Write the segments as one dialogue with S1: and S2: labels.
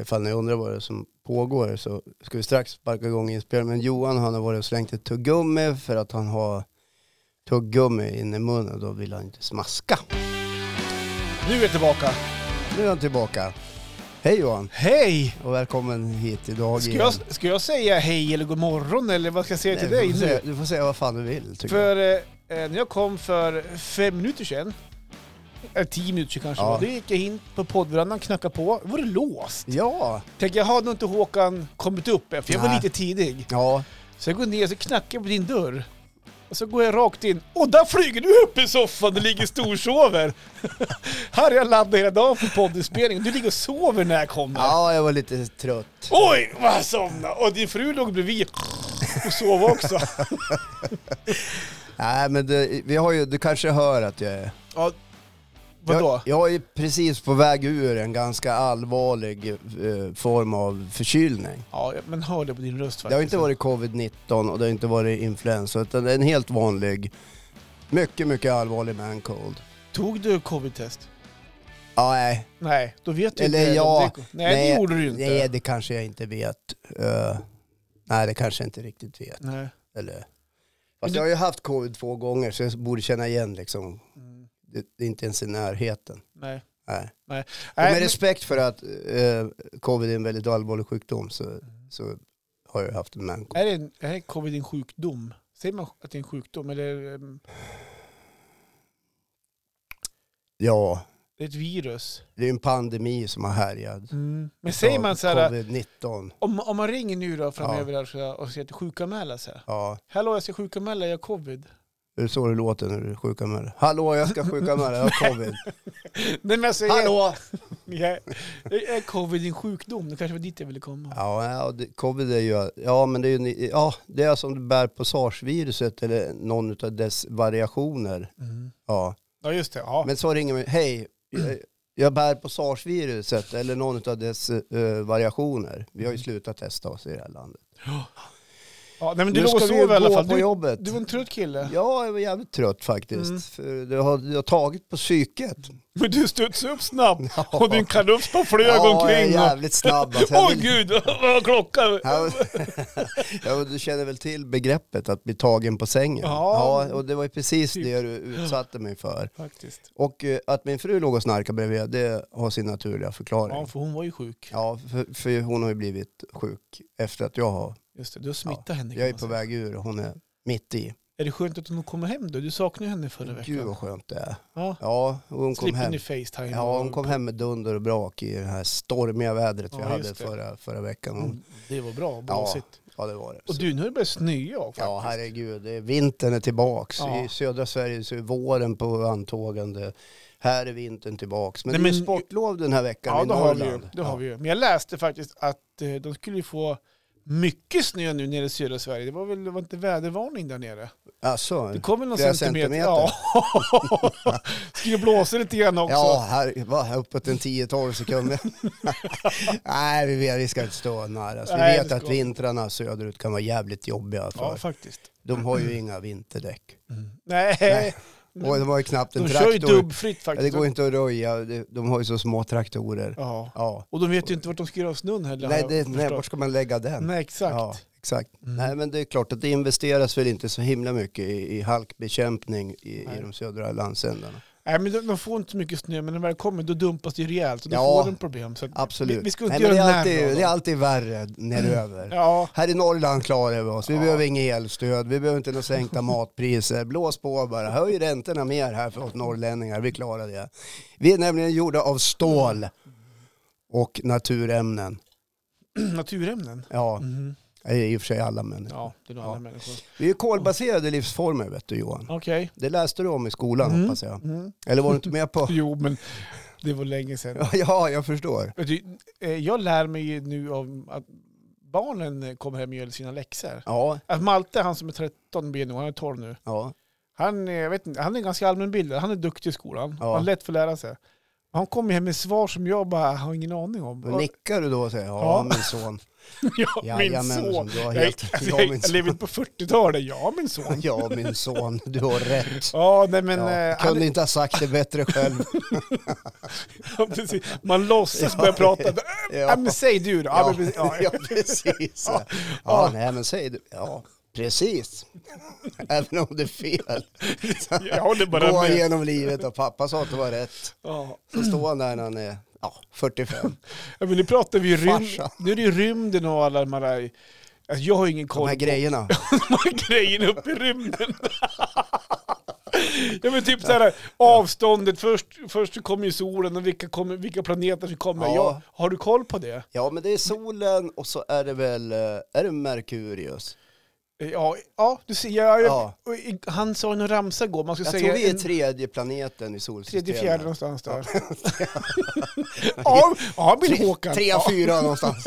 S1: Ifall ni undrar vad det är som pågår så ska vi strax sparka igång inspelningen. Men Johan han har varit och slängt ett tuggummi för att han har tuggummi inne i munnen och då vill han inte smaska.
S2: Nu är jag tillbaka.
S1: Nu är han tillbaka. Hej Johan
S2: Hej!
S1: och välkommen hit idag
S2: Ska
S1: igen.
S2: jag, ska jag säga hej eller god morgon eller vad ska jag säga till
S1: Nej,
S2: dig
S1: du, får
S2: nu?
S1: säga, du får säga vad fan du vill tycker jag.
S2: För eh, eh, när jag kom för fem minuter sedan, eller tio minuter sedan kanske,
S1: Ja.
S2: ja. då gick jag in på poddverandan knackade på. Var det låst?
S1: Ja,
S2: Tänkte jag, hade nog inte Håkan kommit upp än, för jag var
S1: Nej.
S2: lite tidig.
S1: ja.
S2: Så jag går ner och så knackar jag på din dörr. Och så går jag rakt in. Och där flyger du upp i soffan, du ligger storsover. Här har jag laddat hela dagen för poddinspelningen. Du ligger och sover när jag kommer.
S1: ja, jag var lite trött.
S2: Oj, vad jag somnade! Och din fru låg bredvid och sov också.
S1: Nej men det, vi har ju, du kanske hör att jag är
S2: Ja, vadå?
S1: Jag, jag är precis på väg ur en ganska allvarlig eh, form av förkylning.
S2: Ja, men hör det på din röst faktiskt.
S1: Det har inte varit covid-19 och det har inte varit influensa utan det är en helt vanlig, mycket, mycket allvarlig man cold.
S2: Tog du covid-test?
S1: Ja, nej,
S2: Nej, då vet du
S1: Eller
S2: inte.
S1: ja,
S2: Det- Nej, det gjorde du ju inte.
S1: nej, det kanske jag inte vet. Eh, nej, det kanske jag inte riktigt vet.
S2: Nej.
S1: Eller.
S2: Men
S1: Fast
S2: du-
S1: jag har ju haft covid två gånger så jag borde känna igen liksom.
S2: Mm,
S1: Det, det är inte ens i närheten.
S2: Nej.
S1: Nej.
S2: Nej.
S1: Och med
S2: Nej, men,
S1: respekt för att eh, covid är en väldigt allvarlig sjukdom så, så har jag haft en mancold.
S2: är, det en, är covid en sjukdom? Säger man att det är en sjukdom? Eller ehm,
S1: Ja,
S2: det är ett virus? Mm.
S1: det är en pandemi som har härjat.
S2: Men säger
S1: Av
S2: man så här, äh,
S1: Covid-19.
S2: om, om man ringer nu då framöver här så här och säger att sjukanmäla så här.
S1: Ja,
S2: Hallå, jag ska sjukanmäla, jag har covid.
S1: är det så det låter när du är sjukanmäld? Hallå, jag ska sjukanmäla, jag har covid.
S2: Nej, men jag säger,
S1: Hallå!
S2: Ja, är covid en sjukdom? Det kanske var dit jag ville komma.
S1: Ja, ja, och det, covid är ju, ja men det är ju, ni- ja det är som du bär på SARS-viruset eller någon av dess variationer.
S2: Mm.
S1: Ja,
S2: Ja, just det. Ja.
S1: men så ringer man, hej, jag, jag bär på SARS-viruset eller någon av dess eh, variationer. Vi har ju slutat testa oss i det här landet.
S2: ja nej, men du
S1: Nu
S2: låg och
S1: ska vi ju
S2: sov i alla
S1: gå
S2: fall.
S1: på
S2: Du,
S1: jobbet.
S2: du var en trött kille.
S1: Ja, jag var jävligt trött faktiskt.
S2: Mm.
S1: För det har, det har tagit på psyket.
S2: Men du studsade upp snabbt och din kalufs flög
S1: Ja, jag är
S2: omkring. och-
S1: jävligt snabb. Alltså,
S2: Åh
S1: jag
S2: oh,
S1: vill,
S2: gud, vad klockan...
S1: Ja, ja, och du känner väl till begreppet att bli tagen på sängen?
S2: Ja.
S1: och det var ju precis
S2: Typ.
S1: det du utsatte mig för.
S2: Faktiskt.
S1: Och eh, att min fru låg och snarkade bredvid, det har sin naturliga
S2: Ja,
S1: förklaring.
S2: för hon var ju sjuk.
S1: Ja, för, för hon har ju blivit sjuk efter att jag har.
S2: Just det, du har smittat henne. kan
S1: Jag är
S2: man
S1: på
S2: säga.
S1: väg ur och hon är mitt i.
S2: Är det skönt att hon kommer hem då? Du saknade henne förra veckan.
S1: Gud vad skönt det är.
S2: Ja.
S1: Ja, och hon kom
S2: Slipper
S1: hem.
S2: ni Facetime?
S1: Ja,
S2: och-
S1: hon kom hem med dunder och brak i det här stormiga vädret vi
S2: Ja,
S1: hade
S2: just det.
S1: förra, förra veckan. Och-
S2: Mm, Det var bra, blåsigt.
S1: Ja, det var det.
S2: Och du, nu har det börjat snöa faktiskt.
S1: Ja, herregud. det är- Vintern är tillbaks.
S2: Ja.
S1: I södra Sverige så är våren på antågande. Här är vintern tillbaks. Men,
S2: Nej,
S1: det är
S2: men-
S1: ju sportlov den här veckan
S2: Ja,
S1: i
S2: det har, vi ju,
S1: Norrland.
S2: det har vi ju. Men jag läste faktiskt att eh, de skulle ju få mycket snö nu nere i södra Sverige. Det var väl det var inte vädervarning där nere?
S1: Ja. Alltså,
S2: Det kom väl någon
S1: Flera
S2: centimeter.
S1: centimeter.
S2: Ja. skulle blåsa lite grann också.
S1: ja, här, va, här uppåt en 10-12 sekunder. Nej, vi, vet- vi ska inte stå nära. Alltså, vi
S2: Nej,
S1: vet
S2: det
S1: att
S2: ska-
S1: vintrarna söderut kan vara jävligt jobbiga. För.
S2: Ja, faktiskt.
S1: De har ju inga vinterdäck.
S2: Nej,
S1: Och de har ju knappt en
S2: Mm. de kör
S1: traktor.
S2: ju dubbfritt
S1: Ja,
S2: faktiskt.
S1: det går inte att röja. Det- De har ju så små traktorer.
S2: Ja.
S1: Ja.
S2: Och de vet ju inte vart de ska göra av snön heller.
S1: Nej,
S2: har
S1: det,
S2: jag
S1: nej,
S2: förstått.
S1: var ska man lägga den?
S2: nej, exakt.
S1: Ja, exakt.
S2: Mm.
S1: Nej, men det är klart att det investeras väl inte så himla mycket i, i halkbekämpning i, i
S2: Nej.
S1: de södra landsändarna.
S2: Nej, men de, de får inte så mycket snö, men när det kommer då dumpas det ju rejält. Och då
S1: Ja,
S2: får de problem. Så att
S1: Absolut.
S2: Vi, vi ska inte
S1: Nej, men det,
S2: göra
S1: är
S2: narr av
S1: alltid,
S2: dem.
S1: det är alltid värre neröver.
S2: Ja,
S1: Här i Norrland klarar vi oss. Vi
S2: Ja.
S1: behöver inget elstöd, vi behöver inte några sänkta matpriser. Blås på bara, höj räntorna mer här för oss norrlänningar, vi klarar det. Vi är nämligen gjorda av stål och naturämnen.
S2: naturämnen.
S1: Ja,
S2: Mhm.
S1: i och för sig alla människor.
S2: Ja, det är nog
S1: Ja.
S2: alla människor.
S1: Vi är kolbaserade livsformer vet du Johan.
S2: Okej.
S1: Det läste du om i skolan
S2: Mm.
S1: hoppas jag.
S2: Mm.
S1: Eller var du inte med på?
S2: Jo, men det var länge sedan.
S1: Ja, jag förstår.
S2: Vet du, eh, Jag lär mig ju nu av att barnen eh, kommer hem och gör sina läxor.
S1: Ja,
S2: Att Malte, han som är 13 blir nu, han är 12 nu.
S1: ja.
S2: Han, eh, jag vet inte, han är ganska allmänbildad, han är duktig i skolan.
S1: Ja.
S2: Han är lätt för att lära sig. Han kom ju hem med svar som jag bara har ingen aning om.
S1: Då nickar du då och säger ja,
S2: Ja.
S1: min son.
S2: ja, min
S1: Jajamän,
S2: son.
S1: du har
S2: Jag,
S1: helt-
S2: alltså,
S1: Ja,
S2: jag,
S1: min
S2: jag lever inte på 40-talet. Ja, min son.
S1: Ja min son, du har rätt.
S2: Ja, nej men...
S1: Ja,
S2: eh,
S1: kunde
S2: han,
S1: inte ha sagt det bättre själv.
S2: ja, precis. Man låtsas börja prata. Äh,
S1: Ja.
S2: men säg du då. Ja,
S1: Ja,
S2: men precis. Ja,
S1: ja precis. Ja,
S2: Ja.
S1: nej men säg du. Ja, precis. Även om det är fel.
S2: Jag håller bara
S1: Gå
S2: med.
S1: igenom livet och pappa sa att det var rätt.
S2: Ja.
S1: Så står han där när han är ja, 45.
S2: Ja, men nu pratar vi ju rymd.
S1: Farsan.
S2: Nu är det ju rymden och alla de här... Alltså, jag har ju ingen koll
S1: De här
S2: på-
S1: grejerna.
S2: de här grejerna uppe i rymden. Ja men typ så här avståndet, först, först så kommer ju solen och vilka, kommer, vilka planeter som kommer.
S1: Ja.
S2: Ja, har du koll på det?
S1: Ja men det är solen och så är det väl, eh, är det Merkurius?
S2: Ja, ja du ser, jag,
S1: Ja.
S2: och i- han sa ju någon ramsa igår, man ska
S1: Jag
S2: säga
S1: tror vi är
S2: en
S1: tredje planeten i solsystemet.
S2: tredje, fjärde någonstans där. ja, ja, min Håkan.
S1: Tre,
S2: Ja.
S1: fyra någonstans.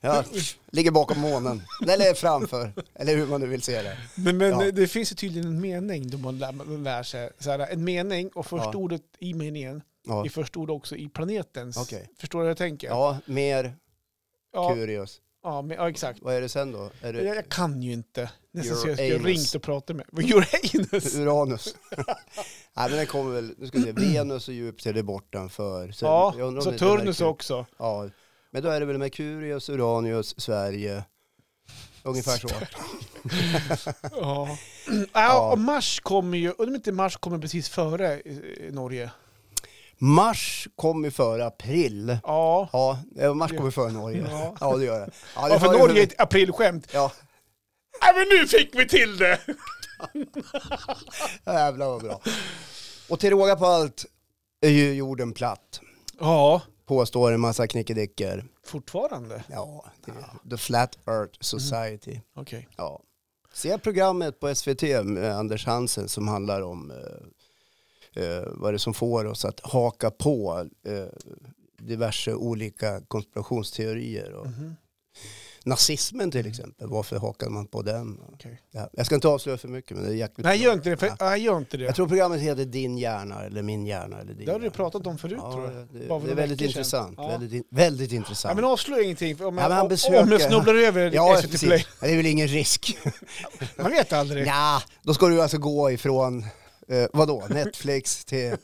S1: ja, ligger bakom månen. Eller framför. Eller hur man nu vill se det.
S2: Men, men
S1: Ja.
S2: det finns ju tydligen en mening då man lär, man lär sig. Så här, en mening och första
S1: Ja.
S2: ordet i meningen
S1: Ja,
S2: är första ordet också i planetens.
S1: Okej.
S2: Förstår du vad jag tänker?
S1: ja mer
S2: ja,
S1: Curious.
S2: ja, men, ja exakt.
S1: Vad är det sen då? Är
S2: Jag,
S1: det
S2: jag kan ju inte. Nästan
S1: Your
S2: så jag har
S1: anus.
S2: ringt och pratat med. Vad gör Einus?
S1: Uranus? Nej men det kommer väl, nu ska vi se, Venus och Jupiter är bortanför. Så
S2: Ja,
S1: jag undrar om
S2: så
S1: det inte
S2: Turnus
S1: verkar-
S2: också.
S1: Ja, men då är det väl Merkurius, Uranius, Sverige. Ungefär så.
S2: Ja.
S1: Ja.
S2: ja. Och Mars kommer ju, undrar om inte Mars kommer precis före eh, Norge.
S1: Mars kom ju före april.
S2: Ja.
S1: Ja, eh, Mars kommer före Norge.
S2: Ja.
S1: Ja, det gör det. Ja, det
S2: Ja, för
S1: före-
S2: Norge är ett aprilskämt.
S1: Ja,
S2: Nej men nu fick vi till det!
S1: jävlar vad bra. Och till råga på allt är ju jorden platt.
S2: Ja,
S1: Påstår en massa knickedickor.
S2: fortfarande.
S1: Ja, det är The Flat Earth Society.
S2: Okej.
S1: Ja. Se programmet på SVT med Anders Hansen som handlar om eh, eh, vad det är som får oss att haka på eh, diverse olika konspirationsteorier. Och
S2: Mhm.
S1: Nazismen till exempel, varför hakade man på den?
S2: Okej.
S1: Ja. Jag ska inte avslöja för mycket men det är jäkligt
S2: Nej,
S1: bra.
S2: gör inte det. För, nej, gör inte det.
S1: Jag tror programmet heter Din hjärna eller Min hjärna eller din
S2: Det har du
S1: hjärna.
S2: pratat om förut
S1: Ja,
S2: tror jag.
S1: det,
S2: Bara
S1: det
S2: för
S1: är
S2: några
S1: väldigt
S2: veckor sedan.
S1: intressant.
S2: Ja.
S1: Väldigt, in, väldigt
S2: Ja,
S1: intressant.
S2: men avslöja ingenting. för Om
S1: Ja,
S2: jag,
S1: men han
S2: om jag
S1: besöker-
S2: snubblar över
S1: ja,
S2: SVT
S1: precis.
S2: Play.
S1: Ja, det är väl ingen risk.
S2: Man vet aldrig.
S1: Ja, då ska du alltså gå ifrån, eh, vadå, Netflix till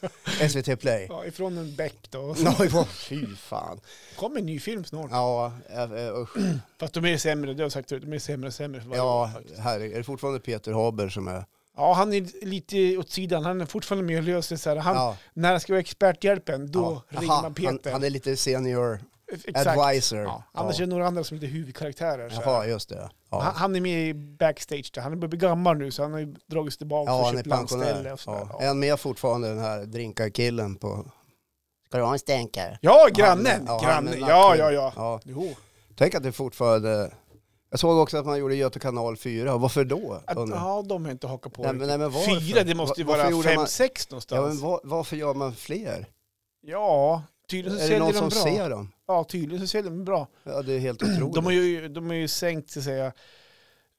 S1: SVT Play?
S2: Ja, ifrån en bäck då.
S1: Ja, ifrån- fy fan.
S2: kommer en ny film snart.
S1: Ja, eh, eh, usch.
S2: Fast de är sämre, det har jag sagt förut. De är sämre och sämre för varje år,
S1: ja
S2: faktiskt.
S1: herregud. Är det fortfarande Peter Haber som är...
S2: ja, han är lite åt sidan. Han är fortfarande med och löser så här. Han,
S1: Ja,
S2: När han ska vara experthjälpen, då
S1: ja.
S2: ringer
S1: Aha,
S2: man Peter.
S1: Han, han är lite senior
S2: Exakt.
S1: advisor.
S2: Ja. Annars är det några andra som inte är huvudkaraktärer. Så här.
S1: Jaha, just det.
S2: Han,
S1: Ja.
S2: han är med i backstage där. Han börjar bli gammal nu så han har ju dragits tillbaka
S1: Ja,
S2: och
S1: han är
S2: köpt landställe
S1: pensionär.
S2: och sådär.
S1: Ja.
S2: Ja.
S1: Är han med fortfarande den här drinkarkillen på... Ska du ha en stänkare?
S2: ja,
S1: Han-
S2: grannen!
S1: ja, han
S2: grannen.
S1: med
S2: Ja, ja,
S1: nacken.
S2: ja.
S1: ja.
S2: Jo.
S1: Tänk att det fortfarande... Jag såg också att man gjorde Göta kanal 4. Varför då?
S2: Att,
S1: undrar jag?
S2: ja, de har inte hakat på
S1: Nej, men,
S2: riktigt.
S1: nej, men varför?
S2: Fyra, det måste ju
S1: Varför
S2: vara
S1: gjorde
S2: fem,
S1: man-
S2: sex
S1: Ja, men
S2: någonstans. Ja,
S1: var, varför gör man fler?
S2: tydligen så
S1: Är det
S2: säljer
S1: någon
S2: de
S1: som
S2: bra.
S1: ser dem?
S2: Ja, tydligen så säljer de bra.
S1: Ja, det är helt otroligt.
S2: Mm, De har ju, de har ju sänkt så att säga,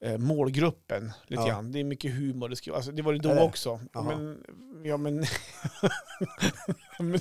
S2: eh, målgruppen lite
S1: Ja.
S2: grann. Det är mycket humor. Det, ska, alltså, det var det då
S1: Är det?
S2: också.
S1: Jaha.
S2: Men, ja, men, men,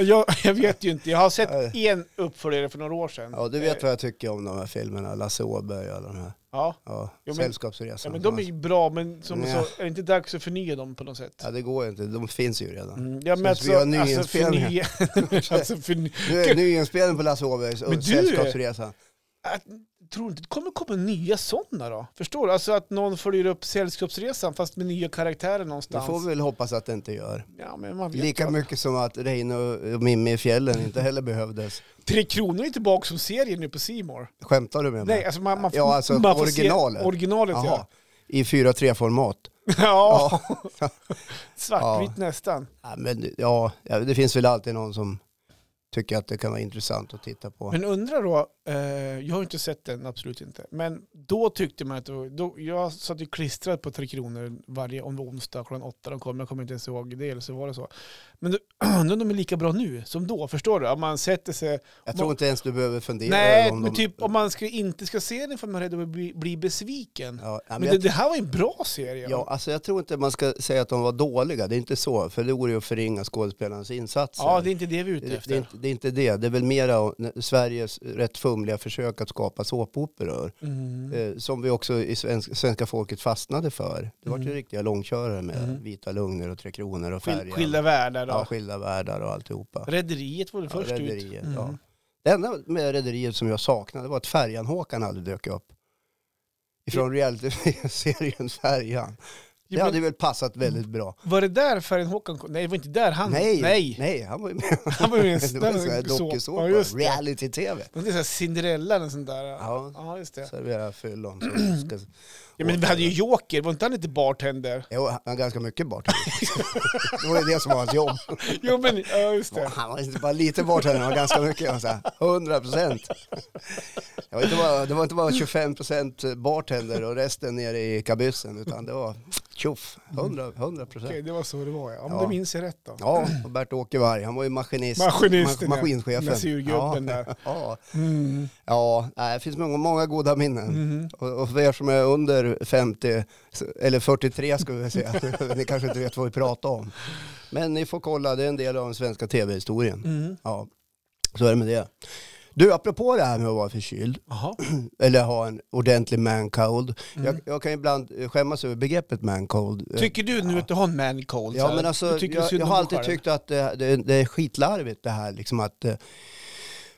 S2: jag, jag vet ju inte. Jag har sett en uppföljare för några år sedan.
S1: Ja, du vet
S2: Eh,
S1: vad jag tycker om de här filmerna. Lasse Åberg och alla de här.
S2: ja.
S1: Ja,
S2: Jo, men- ja,
S1: Sällskapsresan.
S2: men de är ju bra, men som
S1: Nej.
S2: så, är det inte dags att förnya dem på något sätt?
S1: Ja, det går ju inte. De finns ju redan.
S2: Mm, ja, men
S1: Ska vi
S2: alltså,
S1: göra
S2: alltså,
S1: nyinspelningar?
S2: förnya, alltså förnya,
S1: Nu är nyinspelningen på Lasse Åbergs
S2: Men
S1: och
S2: du-
S1: Sällskapsresan.
S2: att, tror du inte det kommer komma nya sådana då? Förstår du? Alltså att någon följer upp Sällskapsresan fast med nya karaktärer
S1: Det
S2: någonstans.
S1: får vi väl hoppas att det inte gör.
S2: Ja, men man vet
S1: Lika
S2: vad-
S1: mycket som att Reine och och Mimmi i fjällen inte heller behövdes.
S2: Tre Kronor är tillbaka som serie nu på C More.
S1: Skämtar du med mig?
S2: Nej, alltså man, man,
S1: Ja, alltså
S2: man får se
S1: originalet.
S2: originalet
S1: Jaha.
S2: ja.
S1: I 4-3-format.
S2: ja.
S1: Ja.
S2: Svartvitt nästan.
S1: Ja, men, ja, ja, det finns väl alltid någon som tycker att det kan vara intressant att titta på.
S2: Men undrar då, Eh, jag har inte sett den, absolut inte. Men då tyckte man att det var, då, jag satt ju klistrad på Tre Kronor varje om det var onsdag klockan åtta de kom. Jag kommer inte ens ihåg det, eller så var det så. Men då, undrar om de är lika bra nu som då, förstår du? Om man sätter sig...
S1: Jag tror inte ens du behöver fundera
S2: Nej,
S1: över om
S2: men
S1: de...
S2: typ om man ska, inte ska se den för man är rädd att bli, bli besviken.
S1: Ja, ja, men
S2: Men
S1: jag,
S2: det, det här var ju en bra serie.
S1: ja, alltså jag tror inte man ska säga att de var dåliga. Det är inte så, för det vore ju att förringa skådespelarnas insatser.
S2: ja, det är inte det vi är ute
S1: Alltså. Det, det,
S2: efter.
S1: är inte, det är inte det. Det är väl mera om Sveriges rätt fumliga försök att skapa såpoperor.
S2: Mm.
S1: Eh, som vi också i svensk, svenska folket fastnade för. Det var ju
S2: Mm.
S1: riktiga långkörare med
S2: Mm.
S1: Vita Lugner och Tre Kronor och
S2: Skil,
S1: Färjan.
S2: skilda världar. då.
S1: ja, skilda världar och alltihopa.
S2: Rederiet var väl
S1: Ja,
S2: först ut.
S1: Rederiet,
S2: Mm.
S1: ja. Det enda med Rederiet som jag saknade var att Färjan-Håkan aldrig dök upp. Ifrån reality-serien Färjan. Det
S2: Jo, men
S1: hade väl passat väldigt bra.
S2: Var det där Färjan Håkan kom? Nej, det var inte där han...
S1: Nej,
S2: nej.
S1: nej, han var ju med.
S2: Han var ju en
S1: Det var en sån här
S2: sån-
S1: dokusåpa,
S2: Ja, just det.
S1: reality-tv.
S2: Det är såhär Cinderella eller sånt där.
S1: Ja.
S2: ja just det.
S1: Servera fyllon. som ska-
S2: Ja, men vi hade ju Joker, var inte han lite bartender?
S1: Jo, han har ganska mycket bartender. det var ju det som var hans jobb.
S2: Jo men, ja just det.
S1: Han var inte bara lite bartender, han var ganska mycket. Han sa, 100 procent. Det var inte bara, det var inte bara 25 procent bartender och resten nere i kabyssen, utan det var tjoff, 100
S2: Okej,
S1: procent.
S2: det var så det var ja. Om
S1: Ja.
S2: det minns jag rätt då.
S1: Ja, och Bert-Åke Varg, han var ju maskinist.
S2: Maskinisten, ja.
S1: maskinchefen.
S2: Den där surgubben där.
S1: Ja,
S2: Mm.
S1: ja nej, det finns många, många goda minnen.
S2: Mm.
S1: Och, och för er som är under 50, eller 43 ska vi väl säga, ni kanske inte vet vad vi pratar om. Men ni får kolla, det är en del av den svenska tv-historien.
S2: Mm.
S1: Ja, så är det med det. Du, apropå det här med att vara förkyld,
S2: Jaha.
S1: eller ha en ordentlig man cold.
S2: Mm.
S1: Jag, jag kan ibland eh, skämmas över begreppet man cold.
S2: Tycker du nu att du har en man cold? så
S1: Ja,
S2: här?
S1: men
S2: Du
S1: alltså,
S2: tycker
S1: jag,
S2: synd
S1: jag
S2: om
S1: har
S2: dig
S1: alltid
S2: själv?
S1: tyckt att eh, det, det, det är skitlarvigt det här, liksom att, eh,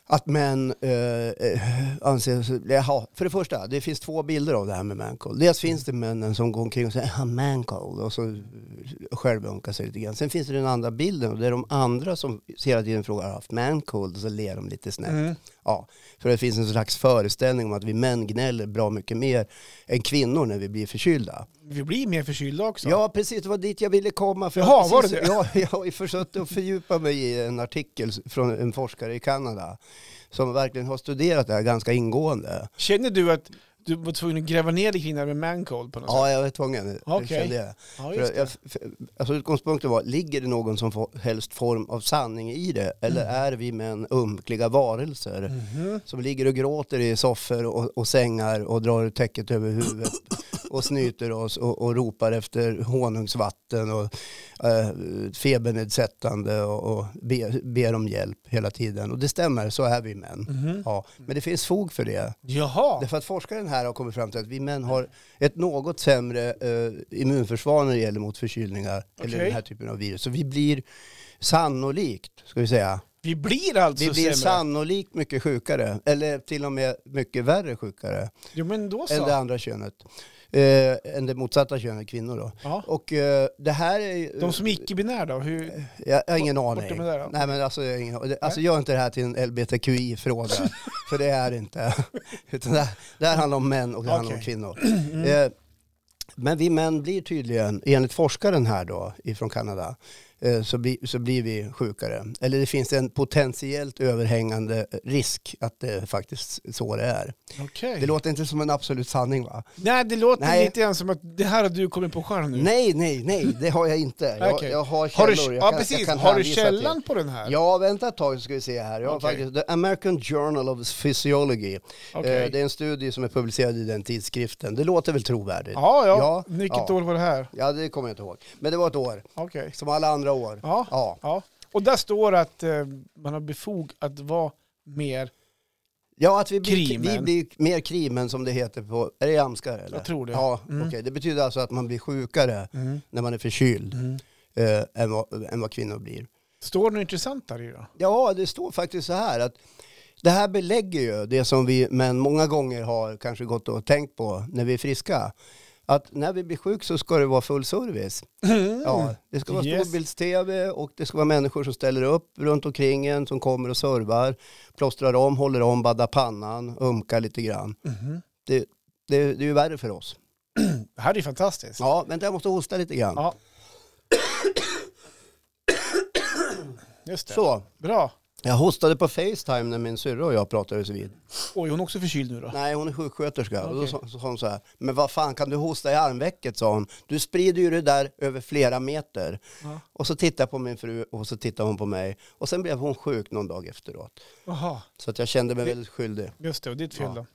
S1: att män eh, eh, anses... Jaha, för det första, det finns två bilder av det här med mancold. Dels
S2: Mm.
S1: finns det männen som går omkring och säger ah, mancold och så eh, självömkar sig lite grann. Sen finns det den andra bilden och det är de andra som hela tiden frågar har haft mancold och så ler de lite snett.
S2: Mm.
S1: Ja, för det finns en slags föreställning om att vi män gnäller bra mycket mer än kvinnor när vi blir förkylda.
S2: Vi blir mer förkylda också.
S1: Ja, precis. Det var dit jag ville komma. För
S2: Jaha,
S1: jag,
S2: var
S1: precis,
S2: det det?
S1: Ja, jag har ju försökt att fördjupa mig i en artikel från en forskare i Kanada som verkligen har studerat det här ganska ingående.
S2: Känner du att du var tvungen att gräva ner dig kring det här med man cold på något sätt?
S1: Ja, jag var tvungen.
S2: Okej.
S1: Jag kände det.
S2: Ja,
S1: För
S2: just
S1: jag,
S2: det.
S1: för, alltså utgångspunkten var, ligger det någon som får- helst form av sanning i det? Eller
S2: Mm.
S1: är vi män ömkliga varelser
S2: Mhm.
S1: som ligger och gråter i soffor och, och sängar och drar täcket över huvudet och snyter oss och, och ropar efter honungsvatten och eh, febernedsättande och, och ber, ber om hjälp hela tiden. Och det stämmer, så är vi män.
S2: Mhm.
S1: Ja, men det finns fog för Mm. det.
S2: Jaha.
S1: Därför att forskaren här har kommit fram till att vi män har ett något sämre eh, immunförsvar när det gäller mot förkylningar eller
S2: Okej.
S1: den här typen av virus. Så vi blir sannolikt, ska vi säga,
S2: Vi blir alltså
S1: vi blir
S2: sämre.
S1: sannolikt mycket sjukare, eller till och med mycket värre sjukare
S2: Jo men då
S1: än det
S2: så.
S1: andra könet. Eh, än det motsatta könet, kvinnor då.
S2: Ja.
S1: Och eh, det här är ju-
S2: De som är icke-binära då? Hur...
S1: jag, jag har ingen
S2: Bort-
S1: aning.
S2: bortom det där, ja.
S1: Nej, men alltså, jag har ingen, aning. alltså, gör inte det här till en LBTQI-fråga, för det är det inte. Utan det, här- det här handlar om män och det handlar om
S2: Okej. Mm.
S1: kvinnor. Eh, men vi män blir tydligen, enligt forskaren här då, ifrån Kanada, eh, så, bli, så blir vi sjukare. Eller det finns en potentiellt överhängande risk att det är faktiskt så det är.
S2: Okej.
S1: Det låter inte som en absolut sanning va?
S2: Nej, det låter
S1: Nej.
S2: lite grann som att det här har du kommit på själv nu.
S1: Nej, nej, nej, det har jag inte. Jag,
S2: Mm. Okej.
S1: jag har
S2: har
S1: källor.
S2: du,
S1: jag
S2: ja,
S1: kan-
S2: precis.
S1: jag kan
S2: har du
S1: hänvisa till.
S2: källan på den här?
S1: Ja, vänta ett tag så ska vi se här. Jag har
S2: Okej.
S1: faktiskt The American Journal of Physiology.
S2: Okej.
S1: Eh, Det är en studie som är publicerad i den tidskriften. Det låter väl trovärdigt?
S2: ja, ja.
S1: Ja,
S2: Vilket
S1: ja.
S2: år var det här?
S1: Ja, det kommer jag inte ihåg. Men det var ett år,
S2: Okej.
S1: som alla andra år.
S2: Ja. ja.
S1: Ja,
S2: Och där står att eh, man har befog att vara mer,
S1: ja att vi blir,
S2: Krimen.
S1: vi blir mer krimen som det heter på... Är det jamskar eller?
S2: jag tror det.
S1: Ja,
S2: Mm.
S1: okej. Det betyder alltså att man blir sjukare
S2: Mm.
S1: när man är förkyld
S2: Mm.
S1: eh, än, vad, än vad kvinnor blir.
S2: Står det något intressant där i då?
S1: Ja, det står faktiskt så här att det här belägger ju det som vi män många gånger har kanske gått och tänkt på när vi är friska. Att när vi blir sjuka så ska det vara full service. Ja, det ska vara
S2: Mm. Yes.
S1: storbilds-tv och det ska vara människor som ställer upp runt omkring en, som kommer och servar, plåstrar om, håller om, baddar pannan, ömkar lite grann.
S2: Mhm.
S1: Det, det, det är ju värre för oss.
S2: Det här är ju fantastiskt.
S1: Ja, vänta jag måste hosta lite grann.
S2: Ja. Just det.
S1: Så,
S2: Bra.
S1: Jag hostade på Facetime när min syrra och jag pratades vid.
S2: Oj, hon är också förkyld nu då?
S1: Nej, hon är sjuksköterska. Och då
S2: Okej.
S1: sa, sa hon så här, men vad fan kan du hosta i armvecket? sa hon. Du sprider ju det där över flera meter.
S2: Ja.
S1: Och så tittade jag på min fru och så tittade hon på mig. Och sen blev hon sjuk någon dag efteråt.
S2: Jaha,
S1: Så att jag kände mig
S2: Det-
S1: väldigt skyldig.
S2: just det. Och ditt fel
S1: Ja.
S2: då.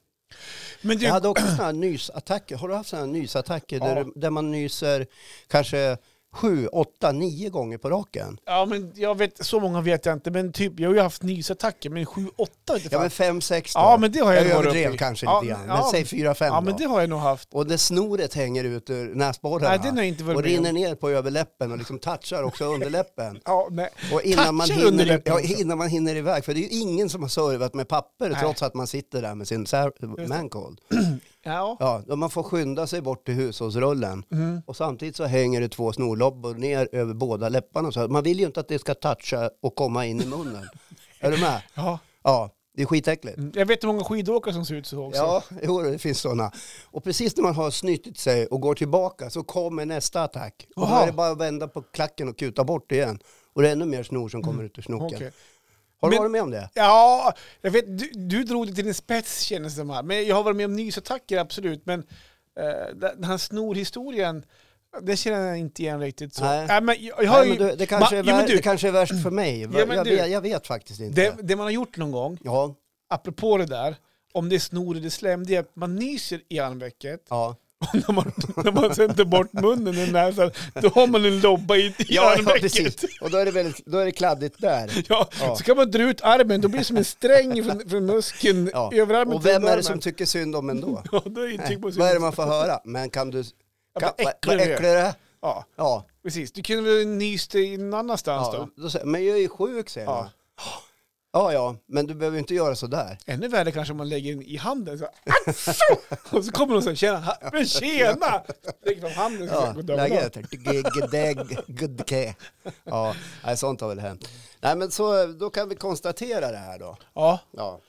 S2: Men du,
S1: Jag hade också sådana här nysattacker. Har du haft sådana här nysattacker
S2: Ja.
S1: där, du- där man nyser kanske sju, åtta, nio gånger på raken?
S2: ja, men jag vet, så många vet jag inte, men typ, jag har ju haft nysattacker, men 7-8 inte
S1: Ja
S2: fan.
S1: men fem, sex då.
S2: Ja, men det har jag
S1: jag
S2: nog varit
S1: överdrev
S2: uppe i.
S1: kanske
S2: Ja,
S1: lite grann.
S2: men-
S1: Men
S2: ja.
S1: säg fyra, fem
S2: Ja,
S1: då.
S2: men det har jag nog haft.
S1: Och det snoret hänger ut ur näsborrarna.
S2: Nej, den har jag inte varit
S1: och
S2: med
S1: rinner
S2: om.
S1: ner på överläppen och liksom touchar också underläppen.
S2: Ja, nej.
S1: Och innan man,
S2: Touchar
S1: hinner,
S2: underläppen
S1: ja,
S2: också.
S1: innan man hinner iväg, för det är ju ingen som har servat med papper
S2: Nej.
S1: trots att man sitter där med sin sär-
S2: det.
S1: mancold.
S2: Ja.
S1: Ja, då man får skynda sig bort till hushållsrullen
S2: Mm.
S1: och samtidigt så hänger det två snorlobbor ner över båda läpparna. Så här. man vill ju inte att det ska toucha och komma in i munnen. är du med?
S2: Ja.
S1: Ja, det är skitäckligt.
S2: Mm. Jag vet hur många skidåkare som ser ut så också.
S1: Ja, jo, det finns sådana. Och precis när man har snytit sig och går tillbaka så kommer nästa attack. Och då
S2: Jaha.
S1: är det bara att vända på klacken och kuta bort igen. Och det är ännu mer snor som kommer ut ur snoken.
S2: Mm. Okej.
S1: Har du
S2: Men-
S1: varit med om det?
S2: Ja, jag vet, du, du drog det till din spets kändes det som här. Men jag har varit med om nysattacker absolut, men eh, den här snorhistorien, det känner jag inte igen riktigt. Så.
S1: Nej.
S2: Nej, men jag, jag har
S1: Nej, men
S2: ju,
S1: du, det, kanske
S2: Ma-
S1: är
S2: jo, men
S1: vär,
S2: du-
S1: det kanske är värst för mig.
S2: Ja, men
S1: jag,
S2: du-
S1: vet, jag vet faktiskt inte.
S2: det, det man har gjort någon gång,
S1: Ja,
S2: apropå det där, om det är snor eller slem, det är att man nyser i armvecket
S1: ja.
S2: och när man, när man sätter bort munnen i näsan, då har man en lobba i, i
S1: Ja, ja,
S2: armvecket.
S1: precis. Och då är, det väldigt, då är det kladdigt där.
S2: Ja,
S1: Ja.
S2: Så kan man dra ut armen, då blir det som en sträng från, från muskeln
S1: Ja.
S2: över armen
S1: Och
S2: till
S1: vem är det
S2: armen.
S1: som tycker synd om en då?
S2: Ja, då är det
S1: Nej,
S2: typ
S1: Vad är det man får höra? Men kan du... Kan,
S2: vad
S1: vad
S2: äcklig du är.
S1: äcklig du är.
S2: Ja,
S1: Ja,
S2: precis. Du kunde väl nyst dig någon annanstans
S1: ja
S2: då?
S1: då säger, men jag är ju sjuk säger
S2: Ja.
S1: man. Ja, ja, men du behöver inte göra sådär.
S2: Ännu värre kanske om man lägger den i handen. Så, här, "Atso!" och så kommer någon så här, tjena, ha- men tjena! Lägger fram handen så
S1: Ja,
S2: här, god dag, god dag.
S1: läget. Gdegg, gudke. Ja, nej, sånt har väl hänt. Nej, men så, då kan vi konstatera det här då.
S2: Ja.
S1: Ja,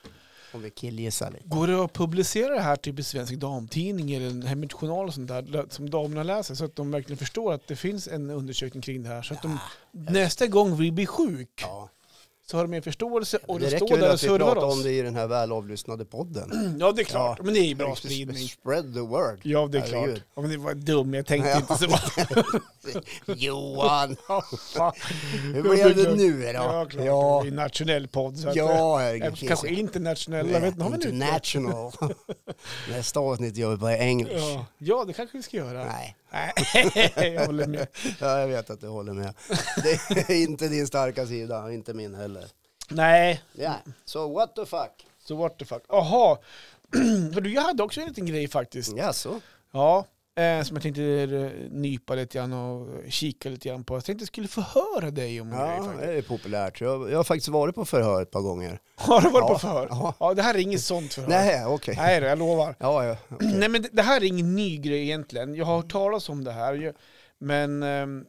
S1: om vi killgissar lite.
S2: Går det att publicera det här typ i Svensk Damtidning eller en Hemmets Journal och sånt där som damerna läser så att de verkligen förstår att det finns en undersökning kring det här så att de nästa gång vi blir sjuk
S1: Ja.
S2: så har de mer förståelse och
S1: Det
S2: de
S1: räcker
S2: står
S1: väl
S2: där och
S1: att vi
S2: servar
S1: pratar
S2: oss. Mm,
S1: om det i den här välavlyssnade podden.
S2: Ja det är klart,
S1: Ja.
S2: men det är ju bra spridning.
S1: Spread the word.
S2: Ja det är
S1: Herregud.
S2: klart. Ja, men det var dum, jag tänkte inte så.
S1: Johan,
S2: Ja,
S1: hur blev det nu då?
S2: Ja, klart.
S1: ja,
S2: Det är en nationell podd. Så att, eh,
S1: ja herregud.
S2: kanske internationell. Jag vet inte, har vi en utvärdering?
S1: International. Nästa avsnitt gör vi bara engelsk.
S2: ja. ja, det kanske vi ska göra.
S1: Nej,
S2: Nej, jag håller med.
S1: ja, jag vet att du håller med. Det är inte din starka sida, inte min heller.
S2: Nej,
S1: Ja, so what the fuck?
S2: så what the fuck. Jaha, Hör du, jag hade också en liten grej faktiskt.
S1: Jaså?
S2: Ja, eh, som jag tänkte eh, nypa lite grann och eh, kika lite grann på. Jag tänkte jag skulle förhöra dig om en grej
S1: Ja,
S2: faktiskt.
S1: det är populärt. Jag, jag har faktiskt varit på förhör ett par gånger.
S2: Har du varit
S1: Ja.
S2: på förhör?
S1: Ja.
S2: Ja, det här är inget sånt förhör.
S1: Nej, okej.
S2: Nej då, jag lovar.
S1: Ja, ja. okej.
S2: Nej men det- det här är ingen ny grej egentligen. Jag har hört talas om det här. Jag- Men ehm,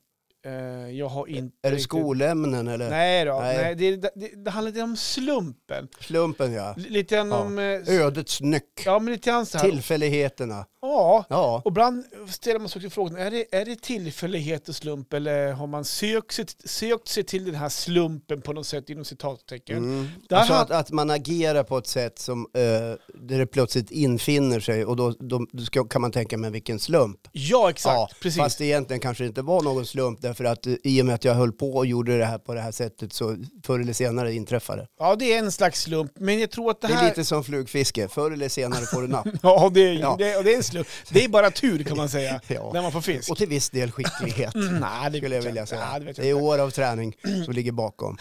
S2: eh, jag har inte...
S1: Är det
S2: riktigt-
S1: skolämnen eller?
S2: Nej då,
S1: Nej.
S2: nej. det, är- det, det handlar lite om slumpen.
S1: Slumpen ja.
S2: L- Lite grann
S1: Ja.
S2: om... eh, s-
S1: Ödets nyck.
S2: Ja men lite grann så här.
S1: Tillfälligheterna.
S2: Ja.
S1: Ja.
S2: Och ibland ställer man sig också frågan, är det, är det tillfällighet och slump eller har man sökt sig, sökt sig till den här slumpen på något sätt inom citattecken?
S1: Mm.
S2: Där
S1: Alltså
S2: har-
S1: att, att man agerar på ett sätt som, eh, där det plötsligt infinner sig och då, då, då ska, kan man tänka, men vilken slump.
S2: Ja exakt, precis.
S1: Fast egentligen kanske det inte var någon slump därför att eh, i och med att jag höll på och gjorde det här på det här sättet så förr eller senare inträffar det.
S2: Ja det är en slags slump, men jag tror att det
S1: Det
S2: här...
S1: är lite som flugfiske, förr eller senare får du napp.
S2: Ja, det är, ju-
S1: Ja.
S2: Det, och det är en slump. Det är bara tur kan man säga,
S1: Ja.
S2: när man får fisk.
S1: Och till viss del skicklighet
S2: Nej, det
S1: skulle jag
S2: vet
S1: vilja
S2: inte.
S1: säga.
S2: Nej, Mm. det vet
S1: Det är
S2: jag inte.
S1: år av träning som ligger bakom.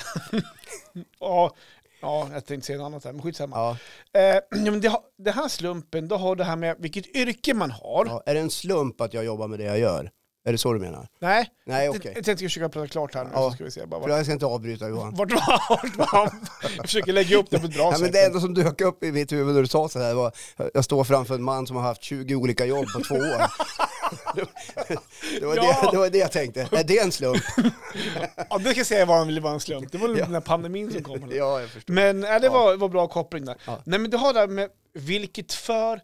S2: Ja, ja, jag tänkte säga något annat här, men skitsamma.
S1: Ja.
S2: Eh, ja, men det, har- det här slumpen, då har det här med vilket yrke man har.
S1: Ja. Är det en slump att jag jobbar med det jag gör? Är det så du menar?
S2: Nej,
S1: Nej,
S2: jag
S1: okej.
S2: tänkte jag skulle försöka prata klart här nu.
S1: Ja.
S2: Så ska vi se. Bara,
S1: För
S2: vart,
S1: jag ska inte avbryta Johan.
S2: vart, vart, vart, jag försöker lägga upp det på ett bra
S1: Ja, men
S2: sätt.
S1: det enda som dök upp i mitt huvud när du sa så här var jag står framför en man som har haft 20 olika jobb på två år. Det var,
S2: Ja.
S1: det, det var det jag tänkte. Är det en slump?
S2: Ja, det kan jag säga var han ville vara en slump. Det var den där pandemin som kom. eller?
S1: Ja, jag förstår.
S2: Men äh, det
S1: Ja.
S2: var, var bra koppling där.
S1: Ja.
S2: Nej men du har det här med vilket för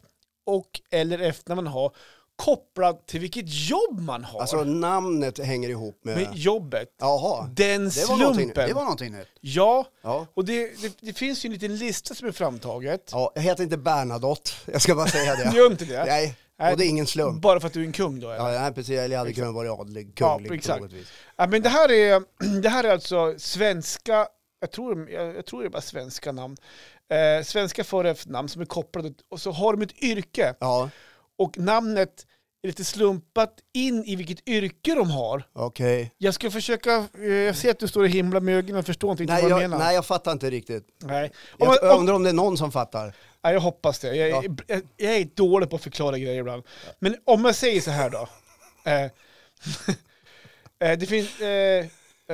S2: och eller efter man har kopplat till vilket jobb man har.
S1: Alltså namnet hänger ihop med...
S2: med jobbet.
S1: Jaha.
S2: Den
S1: Det var, någonting,
S2: slumpen.
S1: det var någonting nytt.
S2: Ja,
S1: Ja.
S2: och det, det, det finns ju en liten lista som är framtaget.
S1: Ja, jag heter inte Bernadotte, jag ska bara säga
S2: Du
S1: det.
S2: Gör inte det?
S1: Nej, och det är ingen slump.
S2: Bara för att du är en kung då? Eller?
S1: Ja, nej, precis. Eller jag hade kunnat vara adlig, kunglig
S2: exakt.
S1: på något vis.
S2: Ja, men det här, är, det här är alltså svenska, jag tror, jag, jag tror det är bara svenska namn. Eh, svenska för efternamn som är kopplade, och så har de ett yrke.
S1: Ja,
S2: Och namnet är lite slumpat in i vilket yrke de har.
S1: okej.
S2: Jag ska försöka, eh, jag ser att du står och himlar med ögonen och förstår inte
S1: Nej,
S2: vad jag
S1: jag,
S2: menar.
S1: nej, jag fattar inte riktigt.
S2: Nej. Om man,
S1: Jag
S2: om,
S1: undrar om det är någon som fattar.
S2: nej, jag hoppas det. Jag,
S1: Ja.
S2: jag, jag är dålig på att förklara grejer ibland. Men om jag säger så här då. eh, eh, det finns, eh,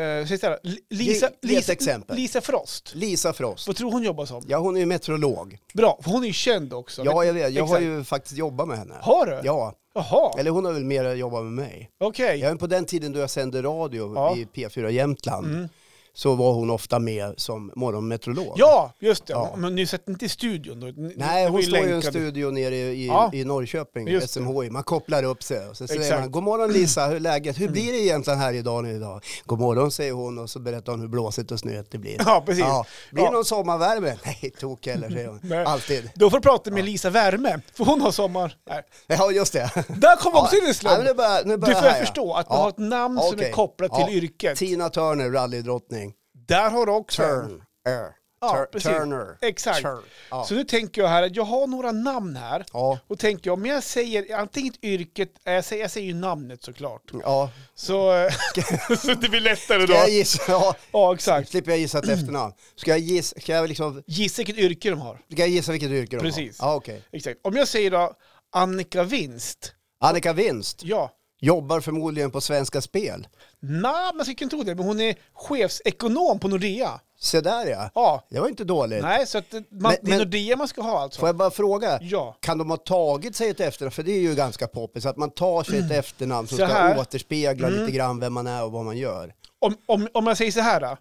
S2: eh, säg så här, Li- Lisa,
S1: Ge- ge ett
S2: Lisa,
S1: exempel.
S2: Lisa Frost.
S1: Lisa Frost.
S2: Vad tror hon jobbar som?
S1: Ja, hon är ju meteorolog.
S2: Bra, för hon är ju känd också.
S1: Ja, jag vet. Jag har
S2: Exakt.
S1: ju faktiskt jobbat med henne.
S2: Har du?
S1: Ja,
S2: Jaha,
S1: eller hon har väl mer jobbat med mig.
S2: okej.
S1: Även på den tiden då jag sände radio
S2: Ja.
S1: i P4 Jämtland
S2: Mm.
S1: så var hon ofta med som morgonmeteorolog.
S2: Ja, just det.
S1: Ja.
S2: Men ni satt inte i studion då? Ni-
S1: Nej,
S2: ni var
S1: hon står ju i en
S2: länkade.
S1: studio nere i, i,
S2: Ja.
S1: i Norrköping,
S2: Just det.
S1: SMHI. Man kopplar upp sig och så säger
S2: Exakt. Mm.
S1: man God morgon Lisa, hur är läget? Hur blir det egentligen här idag nu idag? God morgon säger hon och så berättar hon hur blåsigt och snöigt det blir.
S2: Ja, precis.
S1: Blir
S2: Ja.
S1: det någon sommarvärme? Nej, tok heller säger hon.
S2: Nej.
S1: Alltid.
S2: Då får du prata med Lisa Värme, för hon har sommar. Nej.
S1: Ja, just det.
S2: Där kom också in en
S1: Ja, men nu
S2: slump.
S1: börjar, nu
S2: Du
S1: börjar
S2: får
S1: här,
S2: jag
S1: ja.
S2: förstå att man
S1: Ja.
S2: har ett namn som är
S1: Okej.
S2: kopplat till
S1: Ja.
S2: yrket.
S1: Tina Turner, rallydrottning.
S2: Där har du också en.
S1: Turn. Er.
S2: Ja,
S1: Tur-
S2: precis.
S1: Turner.
S2: Exakt.
S1: Turn. Ja.
S2: Så nu tänker jag här att jag har några namn här.
S1: Ja.
S2: Och tänker jag, men jag säger antingen ett yrket, eh, jag säger, jag säger ju namnet såklart.
S1: Ja.
S2: Så, eh, så det blir lättare
S1: Ska
S2: då.
S1: jag gissa? Ja,
S2: Ja, exakt.
S1: slipper jag gissa ett efternamn. Ska jag gissa, ska jag liksom,
S2: Gissa vilket yrke de har.
S1: ska jag gissa vilket yrke de
S2: Precis.
S1: har? Ja, okej.
S2: Exakt. Om jag säger då Annika Winst.
S1: Annika Winst
S2: Ja.
S1: jobbar förmodligen på Svenska Spel.
S2: Nej, man skulle inte tro det, men hon är chefsekonom på Nordea.
S1: Se där ja.
S2: Ja.
S1: Det var inte dåligt.
S2: Nej, så att eh, man,
S1: Men-
S2: det är
S1: men-
S2: Nordea man ska ha alltså.
S1: Får jag bara fråga?
S2: Ja.
S1: Kan de ha tagit sig ett efternamn? För det är ju ganska poppis att man tar sig ett efternamn som
S2: Så här. Mm.
S1: ska återspegla lite grann vem man är och vad man gör.
S2: Om, om, om jag säger så här då.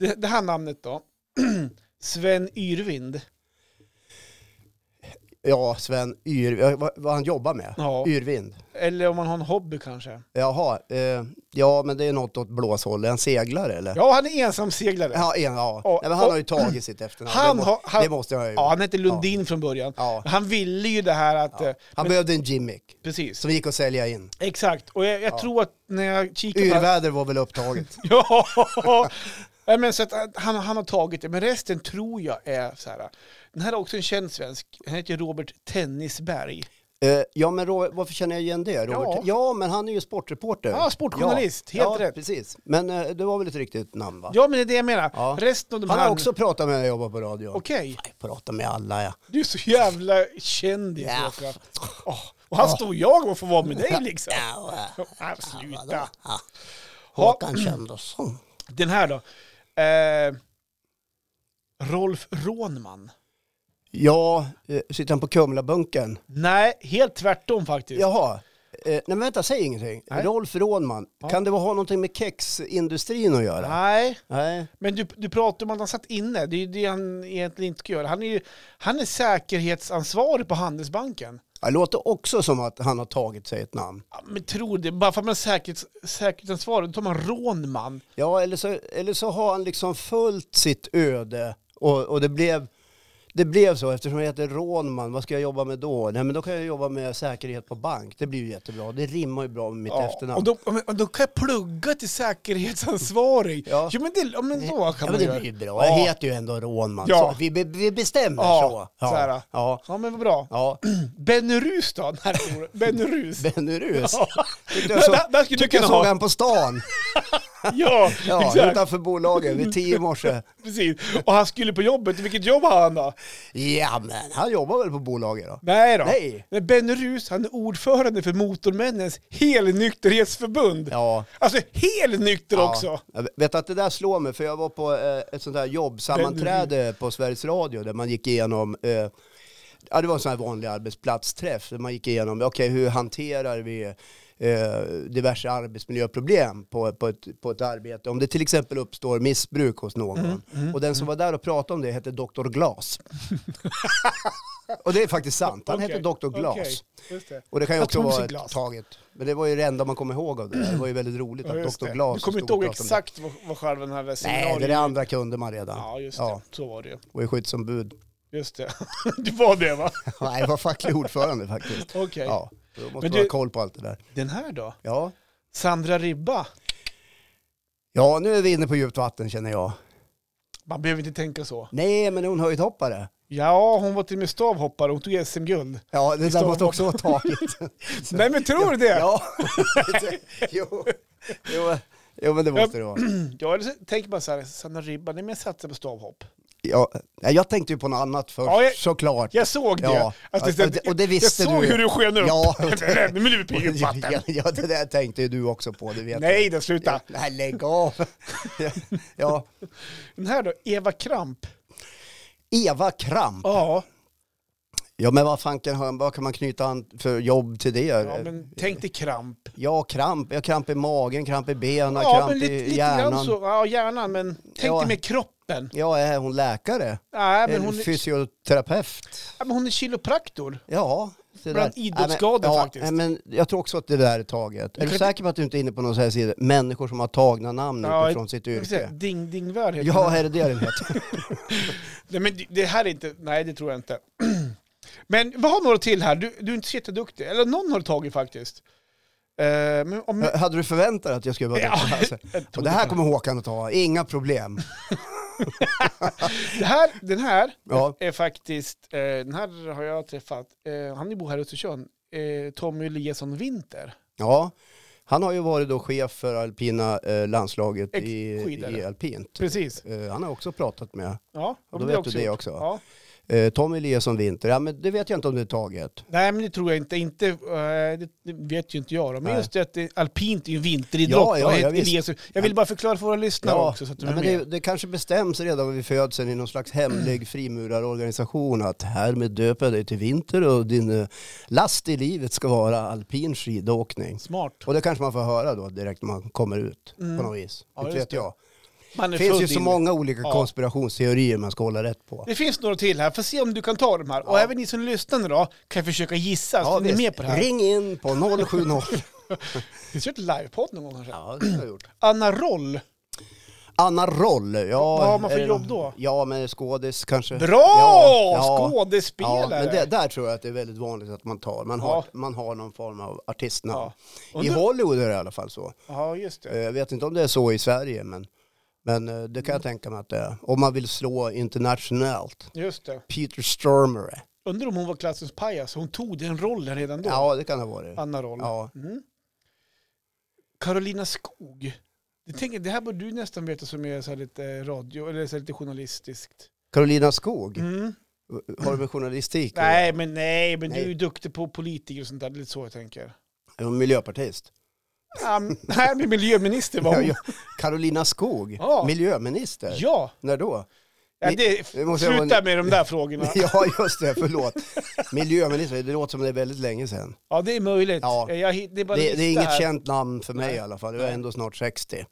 S2: Det, det här namnet då. Sven Yrvind.
S1: Ja, Sven Yr... ja, Vad, vad han jobbar med?
S2: Ja.
S1: Yrvind.
S2: Eller om man har en hobby kanske.
S1: Jaha, eh, ja men det är något åt blåshåll. Är han seglare eller?
S2: Ja, han är ensamseglare. Ja.
S1: Ja, en, ja.
S2: Ja,
S1: Nej, men han har ju tagit sitt efternamn.
S2: Han
S1: det, må,
S2: har- han-
S1: det måste jag ha gjort.
S2: han hette Lundin från början.
S1: Ja.
S2: Han ville ju det här att... eh,
S1: Han behövde en gimmick
S2: Precis.
S1: som gick att sälja in.
S2: Exakt. Och jag, jag tror att när jag kikar på...
S1: Yrväder var väl upptaget.
S2: Ja! Nej, men så att att han, han har tagit det, men resten tror jag är så här. Den här är också en känd svensk. Han heter Robert Tennisberg.
S1: Eh, ja, men Robert, varför känner jag igen det? Robert?
S2: Ja.
S1: Ja. men han är ju sportreporter.
S2: Ja, sportjournalist.
S1: Ja.
S2: Helt
S1: ja,
S2: rätt.
S1: precis. Men eh, det var väl ett riktigt namn va?
S2: Ja, men det är det jag menar.
S1: Ja.
S2: Resten av de
S1: han
S2: här...
S1: har också pratat med när jag jobbar på radio.
S2: Okej.
S1: Nej, pratat med alla ja.
S2: Du är så jävla kändis,
S1: Ja.
S2: Håkan. Åh, och här står jag och får vara med dig liksom.
S1: Ja, eh,
S2: Ja, sluta.
S1: ja.
S2: Håkan
S1: Kändersson.
S2: Den här då. Eh, Rolf Rånman.
S1: Ja, eh, sitter han på Kumlabunkern?
S2: Nej, helt tvärtom faktiskt.
S1: Jaha. Eh, nej men vänta, säg ingenting.
S2: Nej.
S1: Rolf Rånman, kan det ha någonting med kexindustrin att göra?
S2: Nej,
S1: Nej.
S2: men du, du pratar om att han satt inne. Det är ju det han egentligen inte ska göra. Han är, ju, han är säkerhetsansvarig på Handelsbanken.
S1: Det låter också som att han har tagit sig ett namn.
S2: Ja, men tror det, bara för att man är säkerhets, säkerhetsansvarig, då tar man Rånman.
S1: Ja, eller så, eller så har han liksom följt sitt öde och, och det, blev, det blev så. Eftersom jag heter Rånman, vad ska jag jobba med då? Nej, men då kan jag jobba med säkerhet på bank. Det blir ju jättebra. Det rimmar ju bra med mitt
S2: Ja, och
S1: efternamn.
S2: då, och men- och då kan jag plugga till säkerhetsansvarig.
S1: Ja.
S2: Jo, men, det, ja, men då kan
S1: Ja,
S2: man
S1: men det
S2: göra.
S1: blir ju bra. Jag heter ju ändå Rånman.
S2: Ja.
S1: Så vi, be- vi bestämmer
S2: Ja,
S1: så.
S2: så här.
S1: Ja. Ja.
S2: Ja, men vad bra.
S1: Ja.
S2: Benny Rus då? Nej, det gjorde- Benny Rus.
S1: Bennerus. Tyckte jag
S2: Där-
S1: så-
S2: där- där skulle du
S1: tyckte jag
S2: kunna
S1: såg
S2: ha.
S1: han på stan.
S2: Ja,
S1: Ja,
S2: exakt.
S1: utanför bolaget vid tio i morse.
S2: Precis. Och han skulle på jobbet. Vilket jobb har han då?
S1: Ja, men han jobbar väl på bolaget då?
S2: Nej då.
S1: Nej.
S2: Men Benny Rus, han är ordförande för Motormännens helnykterhetsförbund.
S1: Ja.
S2: Alltså helnykter
S1: Ja.
S2: också.
S1: Jag vet att det där slår mig, för jag var på eh, ett sånt här jobbsammanträde på Sveriges Radio där man gick igenom eh, Ja, det var en sån här vanlig arbetsplatsträff där man gick igenom, okej hur hanterar vi eh, diverse arbetsmiljöproblem på, på, ett, på ett arbete? Om det till exempel uppstår
S2: Mm,
S1: missbruk hos någon. och den som var där och pratade om det hette Dr. Glas. Och det är faktiskt sant. Han heter
S2: Okej,
S1: Dr. Glas.
S2: okej, just det.
S1: Och det kan ju
S2: Jag
S1: också
S2: tog sig
S1: vara
S2: glas.
S1: ett taget. Men det var ju det enda man kommer ihåg av det där. Det var ju väldigt roligt
S2: Ja,
S1: att
S2: just
S1: Dr.
S2: det.
S1: Glas
S2: Du kommer
S1: stod
S2: inte
S1: och
S2: ihåg
S1: pratade om det.
S2: exakt vad, vad själva den här
S1: Nej,
S2: seminariet...
S1: det där andra kunde man redan.
S2: Ja, just det. Så var det ju.
S1: Och är skyddsombud.
S2: Just det. Du var det va?
S1: Nej, jag var facklig ordförande faktiskt.
S2: Okej.
S1: Ja, då måste
S2: Men
S1: man ha
S2: du-
S1: koll på allt det där.
S2: Den här då?
S1: Ja.
S2: Sandra Ribba.
S1: ja, nu är vi inne på djupt vatten känner jag.
S2: Man behöver inte tänka så.
S1: Nej, men hon höjdhoppare.
S2: Ja, hon var till och med stavhoppare. Hon tog SM-guld.
S1: Ja, det där
S2: Stavhopp.
S1: måste också vara taget.
S2: Nej men tror du det?
S1: ja, jo. Jo. jo, men det måste det vara.
S2: Mm. Ja, eller så tänker man så här, Sanna Ribban, nej men jag satsar på stavhopp.
S1: Ja, nej, jag tänkte ju på något annat först,
S2: Ja, jag-
S1: såklart.
S2: Jag såg det.
S1: Ja,
S2: Alltså,
S1: och det- och det visste
S2: jag såg
S1: du ju.
S2: hur du sken upp.
S1: Ja.
S2: nej, men du är på djupt
S1: ja,
S2: vatten.
S1: ja, det där tänkte ju du också på, det vet
S2: Nej, då sluta.
S1: jag. Nej, lägg av. ja,
S2: Den här då, Eva Kramp.
S1: Eva Kramp.
S2: Ja,
S1: Ja, men vad fan kan, vad kan man knyta an för jobb till det?
S2: ja men tänk dig kramp.
S1: Ja, kramp. Jag kramp i magen, kramp i benen,
S2: Ja,
S1: kramp
S2: men lite,
S1: i
S2: lite
S1: hjärnan.
S2: grann så. Ja, hjärnan, men tänk
S1: Ja.
S2: dig med kroppen.
S1: Ja, är hon läkare?
S2: Nej, men
S1: Eller
S2: hon, är-
S1: Fysioterapeut?
S2: ja, men hon är kiropraktor.
S1: Ja. Det
S2: Bland idrottsskador
S1: ja,
S2: faktiskt.
S1: nej, men jag tror också att det där är taget. Är
S2: kan
S1: du
S2: inte-
S1: säker på att du inte är inne på någon sån här sida? Människor som har tagna namn
S2: Ja,
S1: utifrån sitt
S2: Jag vill säga,
S1: yrke.
S2: Ding Dingvär heter
S1: Ja,
S2: hon.
S1: är det det den heter?
S2: Nej, men det här är inte, nej det tror jag inte. Men vi har några till här, du, du är inte så jätteduktig. Eller någon har du tagit faktiskt. Eh, men om,
S1: Hade du förväntat dig att jag skulle vara
S2: Ja,
S1: det? Alltså.
S2: jag tog
S1: Och det här kommer Håkan att ta, inga problem.
S2: Det här, den här
S1: Ja.
S2: är faktiskt, eh, den här har jag träffat, eh, han bor här i Östersund, eh, Tommy Eliasson Winter.
S1: Ja, han har ju varit då chef för alpina eh, landslaget
S2: Ex-
S1: i,
S2: skidare.
S1: i alpint.
S2: Precis.
S1: Eh, han har också pratat med
S2: Ja,
S1: då
S2: men
S1: vet du det
S2: gjort.
S1: också.
S2: Ja.
S1: eh, Tommy Eliasson Winter. Ja, men det vet jag inte om det är taget.
S2: Nej, men det tror jag inte. inte eh, det, det vet ju inte jag. Då. Men
S1: Nej.
S2: just det att det, alpint är ju en vinteridrott.
S1: Ja, ja,
S2: va?
S1: ja,
S2: Ett-
S1: visst.
S2: Eliasson- jag vill bara förklara för våra lyssnare också. Så att de
S1: nej,
S2: är
S1: men
S2: med.
S1: det, det kanske bestäms redan vid födseln i någon slags hemlig frimurarorganisation att härmed döper jag dig till Winter och din eh, last i livet ska vara alpin skidåkning.
S2: Smart.
S1: Och det kanske man får höra då direkt när man kommer ut på något vis.
S2: Mm. Ja,
S1: det
S2: just
S1: vet
S2: det.
S1: jag.
S2: Man är
S1: Det finns
S2: född
S1: ju så
S2: in.
S1: många olika
S2: Ja.
S1: konspirationsteorier man ska hålla rätt på.
S2: Det finns några till här, får se om du kan ta de här. Och
S1: Ja.
S2: även ni som lyssnar idag kan försöka gissa så Alltså, ni är
S1: visst.
S2: med på det här.
S1: Ring in på 070.
S2: Vi kör ett livepodd någon gång kanske.
S1: ja, det har jag gjort.
S2: Anna Roll.
S1: Anna Roll. Ja,
S2: Vad har man för
S1: är det-
S2: jobb då?
S1: Ja, men skådis kanske.
S2: Bra!
S1: Ja, ja.
S2: Skådespelare!
S1: Ja, men det, där tror jag att det är väldigt vanligt att man tar. Man har,
S2: Ja.
S1: man har någon form av artistnamn.
S2: Ja. Och
S1: I
S2: nu-
S1: Hollywood är det i alla fall så.
S2: ja, just
S1: Eh,
S2: det.
S1: Jag vet inte om det är så i Sverige, men, men eh, det kan jag
S2: Mm.
S1: tänka mig att det är. Om man vill slå internationellt.
S2: Just det.
S1: Peter Stormare.
S2: Undrar om hon var klassens pajas. Hon tog den rollen redan då.
S1: Ja, det kan det ha varit.
S2: Anna Roll.
S1: Ja.
S2: Mm. Carolina Skog. Jag tänker, det här borde du nästan veta som är så här lite eh, radio, eller så här lite journalistiskt.
S1: Carolina Skog.
S2: Mm.
S1: Har du med journalistik att
S2: Nej, men nej, men du är
S1: Nej.
S2: ju duktig på politiker och sånt där. Det är lite så jag tänker.
S1: göra? Är hon miljöpartist?
S2: Um, nej, men miljöminister var
S1: Ja,
S2: hon.
S1: ja. Carolina Skog,
S2: Oh. Ja.
S1: miljöminister.
S2: Ja,
S1: När då?
S2: ja det,
S1: det måste jag
S2: sluta
S1: vara-
S2: med de där frågorna.
S1: Ja, just det, förlåt. Miljöminister, det låter som det är väldigt länge sedan.
S2: Ja, det är möjligt. Eh,
S1: Ja.
S2: Jag, hit- det, är bara
S1: Det,
S2: en
S1: det är
S2: lista
S1: inget
S2: här.
S1: känt namn för mig i alla fall, jag är
S2: Nej.
S1: ändå snart 60.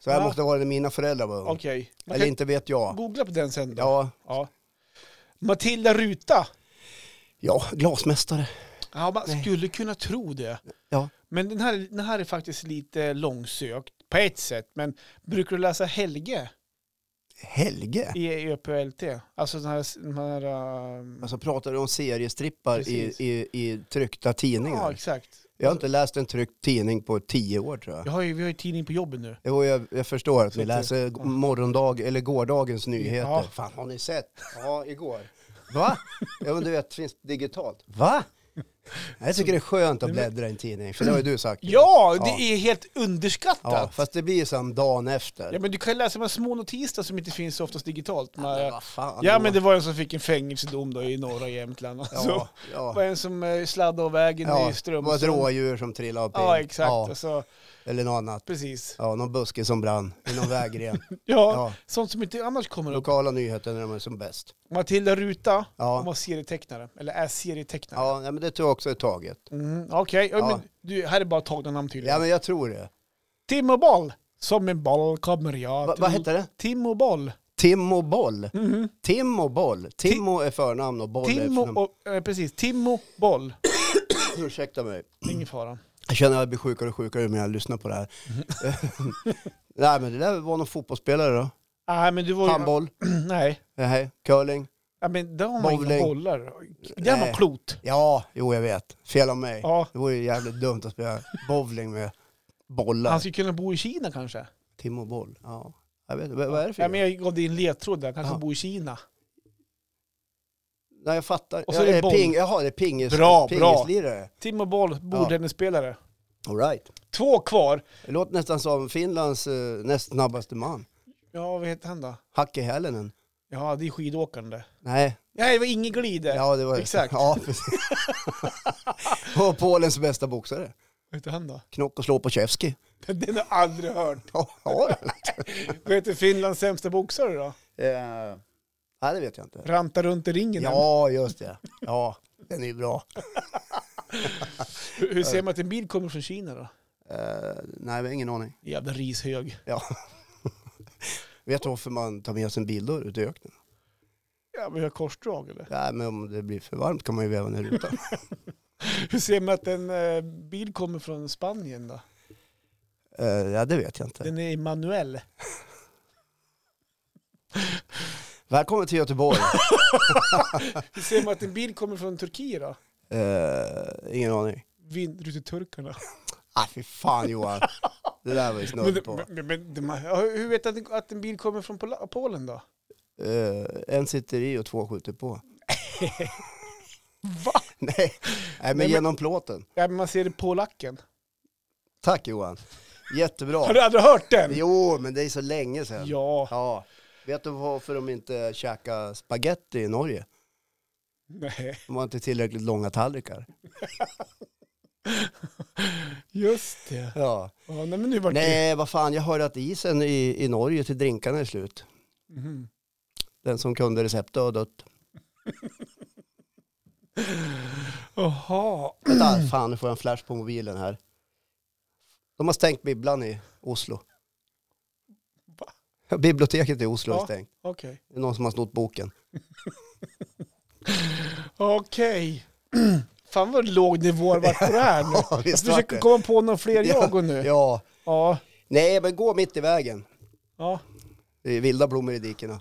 S1: Så jag
S2: Ja.
S1: måste vara när mina föräldrar var unga.
S2: Okej. Man
S1: Eller
S2: kan
S1: inte vet jag.
S2: Googla på den sen då.
S1: Ja,
S2: Ja. Matilda Ruta.
S1: ja glasmästare.
S2: Ja, man
S1: Nej.
S2: skulle kunna tro det.
S1: Ja.
S2: Men den här, den här är faktiskt lite långsökt på ett sätt. Men brukar du läsa Helge
S1: Helge.
S2: i E ÖPLT? Alltså den här... Den här ehm,
S1: Alltså pratar du om seriestrippar i,
S2: Precis.
S1: i, i tryckta tidningar?
S2: ja, exakt.
S1: Jag har inte läst en tryckt tidning på tio år tror jag.
S2: Jag har ju, vi har ju tidning på jobbet nu.
S1: Jo, jag, jag förstår att
S2: Så
S1: ni
S2: det-
S1: läser
S2: ja.
S1: morgondag eller gårdagens nyheter.
S2: Ja.
S1: Fan, har ni sett? Ja, igår. Va? Ja, men du vet, finns digitalt. Va? Jag tycker det är skönt att bläddra i en tidning, för det har ju du sagt.
S2: Ja, det
S1: Ja.
S2: är helt underskattat.
S1: Ja,
S2: Ja,
S1: fast det blir ju som dagen efter.
S2: men du kan läsa de här små notiser som inte finns så oftast digitalt.
S1: Men
S2: När,
S1: vad fan
S2: eh, ja,
S1: då?
S2: men det var en som fick en fängelsedom då i norra Jämtland. Alltså.
S1: ja,
S2: Det var
S1: ja.
S2: en som eh, sladdade av vägen
S1: Ja,
S2: i
S1: Det
S2: Strömsund.
S1: var ett rådjur som trillade av
S2: Ja, exakt. Alltså,
S1: Eller något annat.
S2: precis.
S1: Ja, någon buske som brann i någon vägren.
S2: Ja,
S1: Ja.
S2: sånt som inte annars kommer upp.
S1: Lokala nyheter när de är som bäst.
S2: Matilda Ruta,
S1: Ja.
S2: hon var serietecknare, eller är serietecknare.
S1: Ja, nej, men det tror jag också är taget.
S2: Mm, Okej, ja.
S1: Ja.
S2: men du, här är bara tagna namn tydligen.
S1: Ja, men jag tror det.
S2: Tim och boll, som en boll kommer jag.
S1: Va,
S2: till-
S1: vad hette det?
S2: Tim och boll.
S1: Timmo Boll.
S2: Mhm.
S1: Timmo Boll. Timmo är förnamn och Boll är
S2: Timmo,
S1: efternamn.
S2: och, eh, precis, Timmo Boll.
S1: Ursäkta mig.
S2: Ingen fara.
S1: Jag känner att jag blir sjukare och sjukare när jag lyssnar på det här.
S2: Mhm.
S1: Nej men det där var någon fotbollsspelare då.
S2: Nej, men du var ju...
S1: Handboll,
S2: Nej.
S1: nej, curling.
S2: Ja, men där har man inga
S1: Bowling.
S2: bollar. Där var
S1: Nej.
S2: klot.
S1: Ja, jo jag vet. Fel av mig.
S2: Ja.
S1: Det vore ju jävligt dumt att spela bowling med
S2: Han
S1: bollar.
S2: skulle kunna bo i Kina kanske.
S1: Timmo Boll. Ja. Jag vet, vad vad är det för
S2: Ja, men jag gav dig en ledtråd där. Kanske
S1: Ja.
S2: bo i Kina.
S1: Nej jag fattar.
S2: Och så
S1: Ja,
S2: är det
S1: det
S2: boll.
S1: ping, jaha, det är pingis,
S2: Bra, bra.
S1: pingislirare.
S2: Timmo Boll, bordtennisspelare.
S1: All right.
S2: Två kvar.
S1: Det låter nästan som Finlands eh, näst snabbaste man.
S2: Ja, vad heter han då?
S1: Hacke Hällänen.
S2: Ja, det är skidåkande.
S1: Nej,
S2: Nej, det var ingen glider.
S1: ja det var
S2: exakt.
S1: Ja, precis. och Polens bästa boxare.
S2: Vad heter han då?
S1: Knock och slå på Tjevskij.
S2: Den har jag aldrig hört.
S1: Ja, ja.
S2: Vad heter Finlands sämsta boxare då?
S1: Eh, Nej, det vet jag inte.
S2: Ranta runt i ringen. eller?
S1: Ja, just det. Ja, den är ju bra.
S2: Hur, hur ser man att en bil kommer från Kina då?
S1: Eh, nej, jag har ingen aning.
S2: Jävla rishög.
S1: Ja. Vet du varför man tar med sig en bildörr ut i öknen?
S2: Ja, men jag har korsdrag eller?
S1: Nej, men om det blir för varmt kan man ju väva ner rutan.
S2: Hur ser man att en eh, bil kommer från Spanien då?
S1: Eh, ja, det vet jag inte.
S2: Den är manuell.
S1: Välkommen till Göteborg.
S2: Hur ser man att en bil kommer från Turkiet då?
S1: Eh, ingen aning.
S2: Vindruteturkarna.
S1: Ah, fy fan Johan. Det där var ju snudd
S2: Men,
S1: på.
S2: men, men, de- ja, hur hur vet du att, att en bil kommer från Pola- Polen då?
S1: Eh, en sitter i och två skjuter på.
S2: Va?
S1: Nej, nej men,
S2: men-
S1: genom plåten.
S2: Ja, men man ser det på lacken.
S1: Tack Johan.
S2: Har
S1: Jättebra.
S2: du aldrig hört den?
S1: Jo, men det är så länge sedan.
S2: Ja.
S1: Ja. Vet du varför de inte käkar spaghetti i Norge?
S2: Nej.
S1: De har inte tillräckligt långa tallrikar.
S2: Just det.
S1: Ja.
S2: Ja, nej, men nu vart det...
S1: Nej, vad fan, jag hörde att isen i, i Norge till drinkarna är slut.
S2: Mhm.
S1: Den som kunde receptet har dött.
S2: Jaha.
S1: Vänta, fan, nu får jag en flash på mobilen här. De har stängt bibblan i Oslo.
S2: Va?
S1: Biblioteket i Oslo är
S2: Ja.
S1: stängt.
S2: Okej.
S1: Det är någon som har snott boken.
S2: Okej. Fan vad låg nivå det vart på det här nu.
S1: Ja,
S2: Jag
S1: visst vart
S2: försöker
S1: det.
S2: komma på några fler jag nu.
S1: Ja.
S2: Ja.
S1: Nej, men gå mitt i vägen.
S2: ja.
S1: Det är vilda blommor i dikena.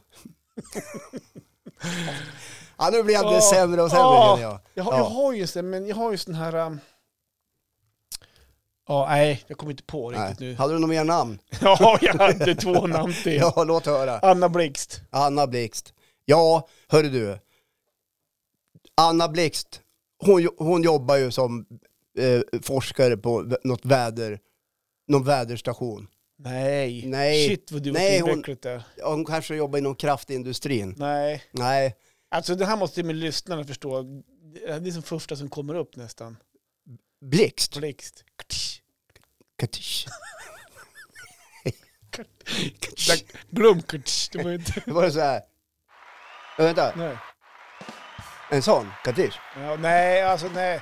S1: ja, nu blir jag
S2: Ja.
S1: alldeles sämre och sämre
S2: Ja.
S1: känner jag.
S2: Jag, har- jag har ju sen, men jag har ju sån här... um, Ja, nej, jag kommer inte på
S1: Nej.
S2: riktigt nu.
S1: Hade du något mer namn?
S2: Ja, jag hade två namn till.
S1: Ja, låt höra.
S2: Anna Blixt.
S1: Anna Blixt. Ja, hörru du. Anna Blixt, hon, jo- hon jobbar ju som eh, forskare på v- något väder, någon väderstation.
S2: Nej.
S1: Nej.
S2: Shit vad du var
S1: Nej, hon-
S2: tillräckligt där.
S1: Ja, Hon kanske jobbar inom kraftindustrin.
S2: Nej.
S1: Nej,
S2: Alltså det här måste ju med lyssnarna förstå. Det är som första som kommer upp nästan.
S1: Blixt.
S2: Blixt.
S1: Katish.
S2: Glöm Det var inte...
S1: Det var så här. Ja, Vänta,
S2: Nej.
S1: en sån? Katish?
S2: Ja, nej, alltså nej.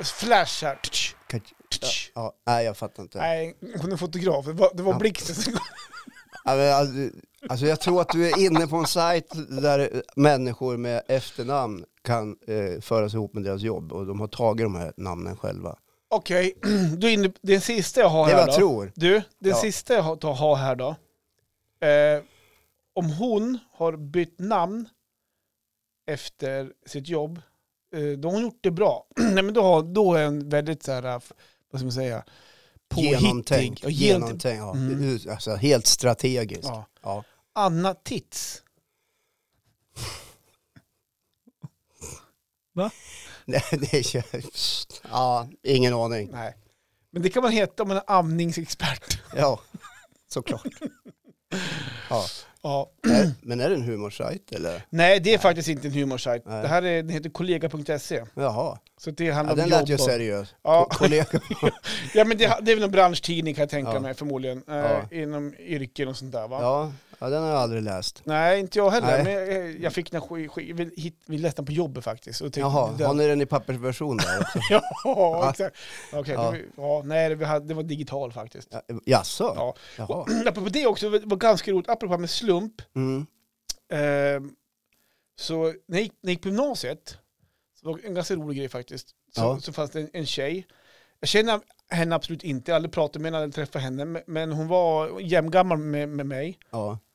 S2: Flash här. Tch,
S1: Kat-
S2: tch.
S1: Ja, nej, jag fattar inte.
S2: Nej, hon är fotograf. Det var, det var blixten som
S1: Ja, men Alltså, alltså jag tror att du är inne på en sajt där människor med efternamn kan eh, föras ihop med deras jobb och de har tagit de här namnen själva.
S2: Okej, du är inne, den sista jag har
S1: Det är
S2: här
S1: vad
S2: då.
S1: jag tror.
S2: Du, den
S1: Ja.
S2: sista jag har, har här då. Eh, om hon har bytt namn efter sitt jobb, eh, då har hon gjort det bra. Nej men då, har, då är hon väldigt så här, eh, vad ska man säga, påhittig.
S1: Genomtänkt.
S2: Ja, genomtänkt.
S1: Genomtänkt, ja.
S2: Mm.
S1: Det är ju, Alltså, helt strategiskt. Ja.
S2: Ja. Anna Tits.
S1: Nej, det är, ju- ja, ingen aning.
S2: Nej. Men det kan man heta om man är amningsexpert.
S1: Ja, såklart. Ja.
S2: Ja.
S1: Nej, Men är det en humorsajt eller?
S2: Nej, det är faktiskt inte en humorsajt.
S1: Nej.
S2: Det här är, den heter kollega.se.
S1: Jaha,
S2: Så det
S1: ja,
S2: handlar
S1: den
S2: om
S1: lät
S2: jobb.
S1: ju
S2: och-
S1: seriös.
S2: Ja.
S1: Ko- Kollega.
S2: Ja, men det, det är väl en branschtidning kan jag tänka
S1: Ja.
S2: mig förmodligen. Eh,
S1: Ja.
S2: Inom yrken och sånt där va?
S1: Ja, Ja, den har jag aldrig läst.
S2: Nej, inte jag
S1: Nej.
S2: heller. Men eh, jag, jag fick den sk- sk- vi, hit, vi läste den på jobbet faktiskt. Och tänkte,
S1: Jaha,
S2: den-
S1: har ni den i pappersversion där också?
S2: Ja, exakt. Okej,
S1: Ja.
S2: det var- ja, nej, det, hade, det var digital faktiskt.
S1: Ja, Jaså?
S2: Ja.
S1: Jaha.
S2: Apropå det också, det var ganska roligt, apropå det här med slump.
S1: Mm.
S2: Ehm, så när jag, gick, när jag gick på gymnasiet, så var det en ganska rolig grej faktiskt, så,
S1: Ja.
S2: så fanns det en, en tjej. Jag känner henne absolut inte, jag har aldrig pratat med henne, aldrig träffat henne, men- men hon var jämngammal med, med mig.
S1: Ja,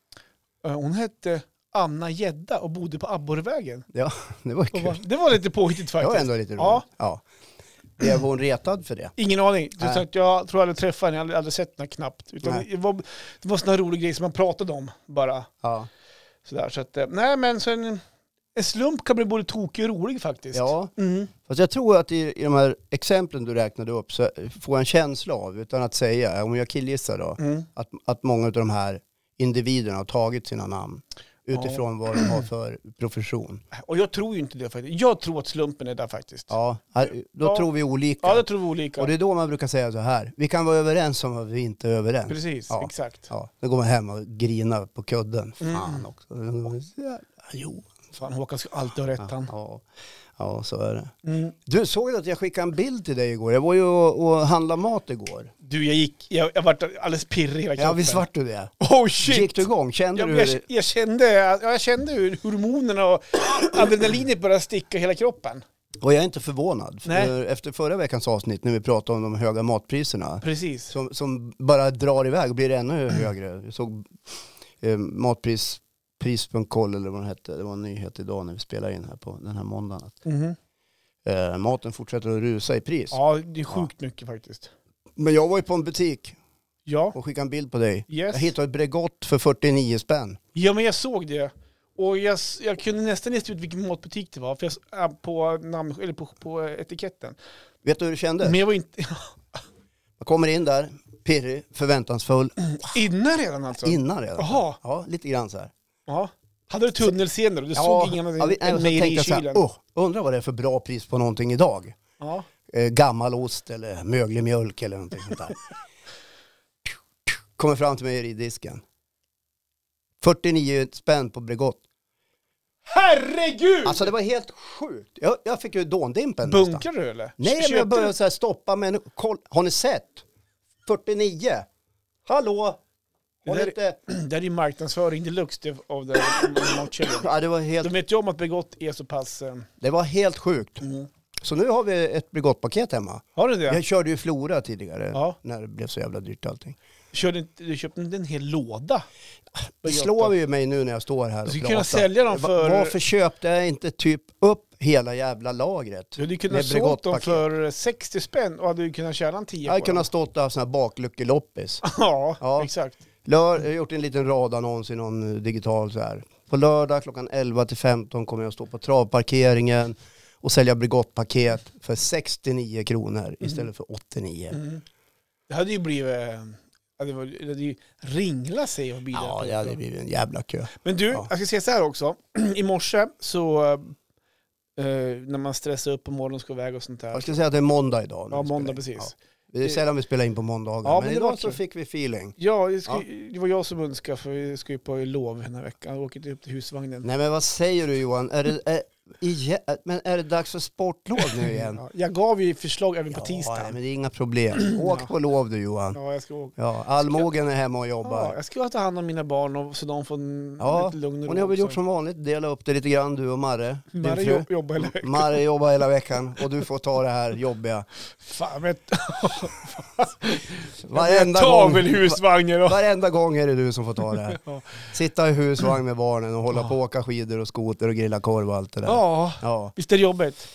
S2: Eh, Hon hette Anna Gedda och bodde på Abborrvägen.
S1: det var
S2: Och
S1: kul.
S2: var, det var lite påhittigt
S1: Det var
S2: faktiskt.
S1: ändå lite roligt.
S2: Ja.
S1: Ja. Blev hon retad för det?
S2: Ingen aning. Så
S1: Nej.
S2: sagt, jag tror jag aldrig träffade henne, jag har aldrig- aldrig sett henne knappt. Utan
S1: Nej.
S2: det var, det var sådana rolig grej som man pratade om bara.
S1: Ja.
S2: Sådär, så att, eh, nej men sen, en slump kan bli både tokig och rolig faktiskt.
S1: ja.
S2: Mm.
S1: Fast jag tror att i, i de här exemplen du räknade upp så får jag en känsla av, utan att säga, om jag killgissar då,
S2: Mm.
S1: att, att många av de här individerna har tagit sina namn utifrån vad de har för profession.
S2: Och jag tror ju inte det faktiskt. Jag tror att slumpen är där faktiskt. Ja,
S1: Ja, här- då
S2: Ja.
S1: tror vi olika.
S2: det tror vi olika.
S1: Och det är då man brukar säga så här, vi kan vara överens om vad vi inte är överens.
S2: Precis,
S1: Ja.
S2: exakt.
S1: Ja, då går man hem och grinar på kudden. Fan
S2: Mm.
S1: också. Ja, Jo.
S2: Fan, Håkan ska alltid ha rätt han.
S1: Ja, ja, så är det.
S2: Mm.
S1: Du såg ju att jag skickade en bild till dig igår. Jag var ju och, och handlade mat igår.
S2: Du, jag gick, jag, jag vart alldeles pirrig i hela kroppen.
S1: Ja, visst vart du det?
S2: Oh shit!
S1: Gick du igång? Kände
S2: jag,
S1: du hur
S2: jag,
S1: det...
S2: jag, kände, ja, jag kände hur hormonerna och adrenalinet började sticka i hela kroppen.
S1: Och jag är inte förvånad. För
S2: Nej.
S1: Efter förra veckans avsnitt när vi pratade om de höga matpriserna
S2: Precis.
S1: som, som bara drar iväg och blir ännu högre. Jag såg eh, matprispris.koll eller vad den hette. Det var en nyhet idag när vi spelade in här på den här måndagen. Att,
S2: Mhm.
S1: eh, maten fortsätter att rusa i pris.
S2: Ja, det är sjukt mycket faktiskt.
S1: Men jag var ju på en butik
S2: Ja,
S1: och skickade en bild på dig.
S2: yes.
S1: Jag hittade ett Bregott för 49 spänn.
S2: Ja, men jag såg det. Och jag, s- jag kunde nästan lista ut vilken matbutik det var för jag, s- äh, på, namn, eller på, på etiketten.
S1: Vet du hur du kände?
S2: Men jag var inte
S1: Jag kommer in där, pirrig, förväntansfull,
S2: inne redan alltså.
S1: innan redan.
S2: Jaha.
S1: Ja, lite grann så här.
S2: Ja. Hade du tunnelseende då? Du såg ingen
S1: ja, vi- nej, och
S2: en
S1: så
S2: mejeri
S1: tänkte
S2: i
S1: jag så här,
S2: kylen?
S1: "Åh, undrar vad det är för bra pris på någonting idag.
S2: Ja.
S1: Eh, gammal ost eller möglig mjölk eller någonting sånt där. Kommer fram till mejeridisken. 49 spänn på Bregott.
S2: Herregud!
S1: Alltså det var helt sjukt. Jag, jag fick ju dåndimpen nästan.
S2: Bunkrar du eller?
S1: Nej, men
S2: Köpte
S1: jag
S2: du-
S1: började så här stoppa men koll, har ni sett? 49. Hallå?
S2: Det
S1: Har
S2: där
S1: ni
S2: är-
S1: inte...
S2: Det här är ju marknadsföring deluxe det- av den matkedjan.
S1: Ja, det, var helt,
S2: Alltså, De vet ju om att Bregott är så pass... eh,
S1: det var helt sjukt.
S2: Mm.
S1: Så nu har vi ett Bregottpaket hemma.
S2: Har du det?
S1: Jag körde ju Flora tidigare
S2: Ja.
S1: när det blev så jävla dyrt allting.
S2: Körde inte, du köpte inte en hel låda?
S1: Det
S2: Bregott.
S1: slår ju mig nu när jag står här och
S2: Du
S1: pratar.
S2: skulle kunna sälja dem
S1: Va-
S2: för-
S1: Varför köpte jag inte typ upp hela jävla lagret?
S2: Du hade ju kunnat
S1: med
S2: sålt dem
S1: Bregottpaket?
S2: för 60 spänn och hade ju kunnat tjäna en 10
S1: Jag
S2: på
S1: hade kunnat stått och haft sådana här bakluckeloppis.
S2: dem. Ja,
S1: Ja.
S2: exakt.
S1: Lör, jag har gjort en liten radannons i någon eh, digital så här. På lördag klockan 11 till 15 kommer jag stå på travparkeringen och sälja Bregottpaket för 69 kronor istället för 89.
S2: Mm. Det hade ju blivit... eh, Det var- det hade ju ringla sig av bilar.
S1: Ja, det hade blivit en jävla kö.
S2: Men du,
S1: Ja.
S2: jag ska säga så här också. I morse så, eh, när man stressar upp på morgonen och ska iväg och sånt där.
S1: Jag skulle säga att det är måndag idag. när
S2: Ja,
S1: vi spelar
S2: måndag
S1: in.
S2: precis.
S1: Ja. Det är sällan vi spelar in på måndagar,
S2: Ja,
S1: men,
S2: men det var
S1: idag så
S2: kul.
S1: fick vi feeling.
S2: Ja, jag ska, det var jag som önskade för vi ska ju på lov den här veckan. Jag åker inte upp till husvagnen.
S1: Nej men vad säger du Johan? Är det, är, igen, men är det dags för sportlov nu igen?
S2: Ja, jag gav ju förslag även på
S1: nej,
S2: tisdagen.
S1: men det är inga problem. Åk på lov du Johan.
S2: Ja, jag ska åka.
S1: Ja, allmogen är hemma och
S2: Ja,
S1: jobbar.
S2: jag ska ta hand om mina barn och så de får en
S1: Ja,
S2: lite lugn och ro.
S1: Och ni har väl
S2: också.
S1: gjort som vanligt, dela upp det lite grann du och Marre, din
S2: Marie
S1: fru. Mm.
S2: jobb- jobbar eller?
S1: Marre jobbar hela veckan och du får ta det här jobbiga.
S2: Fan, men
S1: Varenda
S2: ta
S1: gång,
S2: väl husvagnen och...
S1: varenda gång är det du som får ta det här.
S2: Ja.
S1: Sitta i husvagn med barnen och hålla
S2: Ja.
S1: på och åka skidor och skoter och grilla korv och allt det där.
S2: Ja,
S1: Ja.
S2: visst är det jobbigt.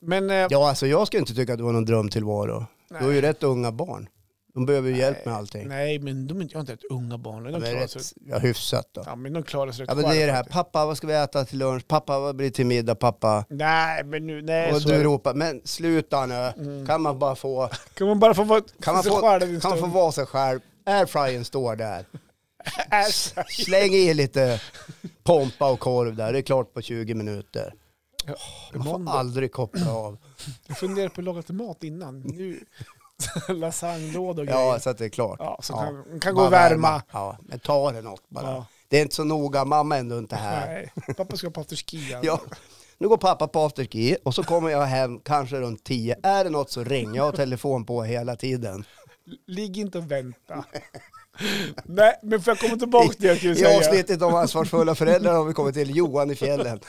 S2: Men eh,
S1: Ja, alltså jag skulle inte tycka att det var någon drömtillvaro. Du har ju rätt unga barn. De behöver ju hjälp med allting.
S2: nej, men de, är inte- jag har inte rätt unga barn. De
S1: De är
S2: klarar sig
S1: rätt, ja, hyfsat då.
S2: Ja, men de klarar sig rätt
S1: Ja, men det är det här,
S2: själva.
S1: pappa vad ska vi äta till lunch? Pappa vad blir det till middag? Pappa.
S2: Nej, men nu, nej,
S1: Och
S2: så Mm. är
S1: du
S2: det.
S1: ropar, men sluta nu. Kan man bara få,
S2: Kan man bara få vara
S1: kan man
S2: sig
S1: få,
S2: själv en
S1: kan man få
S2: stund?
S1: vara sig själv? Airfryern står där.
S2: Äsch.
S1: Släng i lite pompa och korv där, det är klart på 20 minuter. Man får
S2: Måndag.
S1: aldrig koppla av.
S2: Jag funderar på att laga till mat innan. Nu. Lasagnelåda och grejer.
S1: Ja, så att det är klart.
S2: Mm. ja, så
S1: Ja.
S2: kan, kan gå
S1: Bara
S2: och värma.
S1: Ja, men ta det något bara.
S2: Ja.
S1: Det är inte så noga, mamma är ändå inte här.
S2: Nej, pappa ska på afterski. alltså.
S1: Ja. Nu går pappa på afterski och så kommer jag hem kanske runt 10. Är det något så ringer jag och telefon på hela tiden.
S2: Ligg inte och vänta. Nej, men får jag komma tillbaka till det jag skulle
S1: I
S2: säga?
S1: avsnittet om ansvarsfulla föräldrar har vi kommit till Johan i fjällen.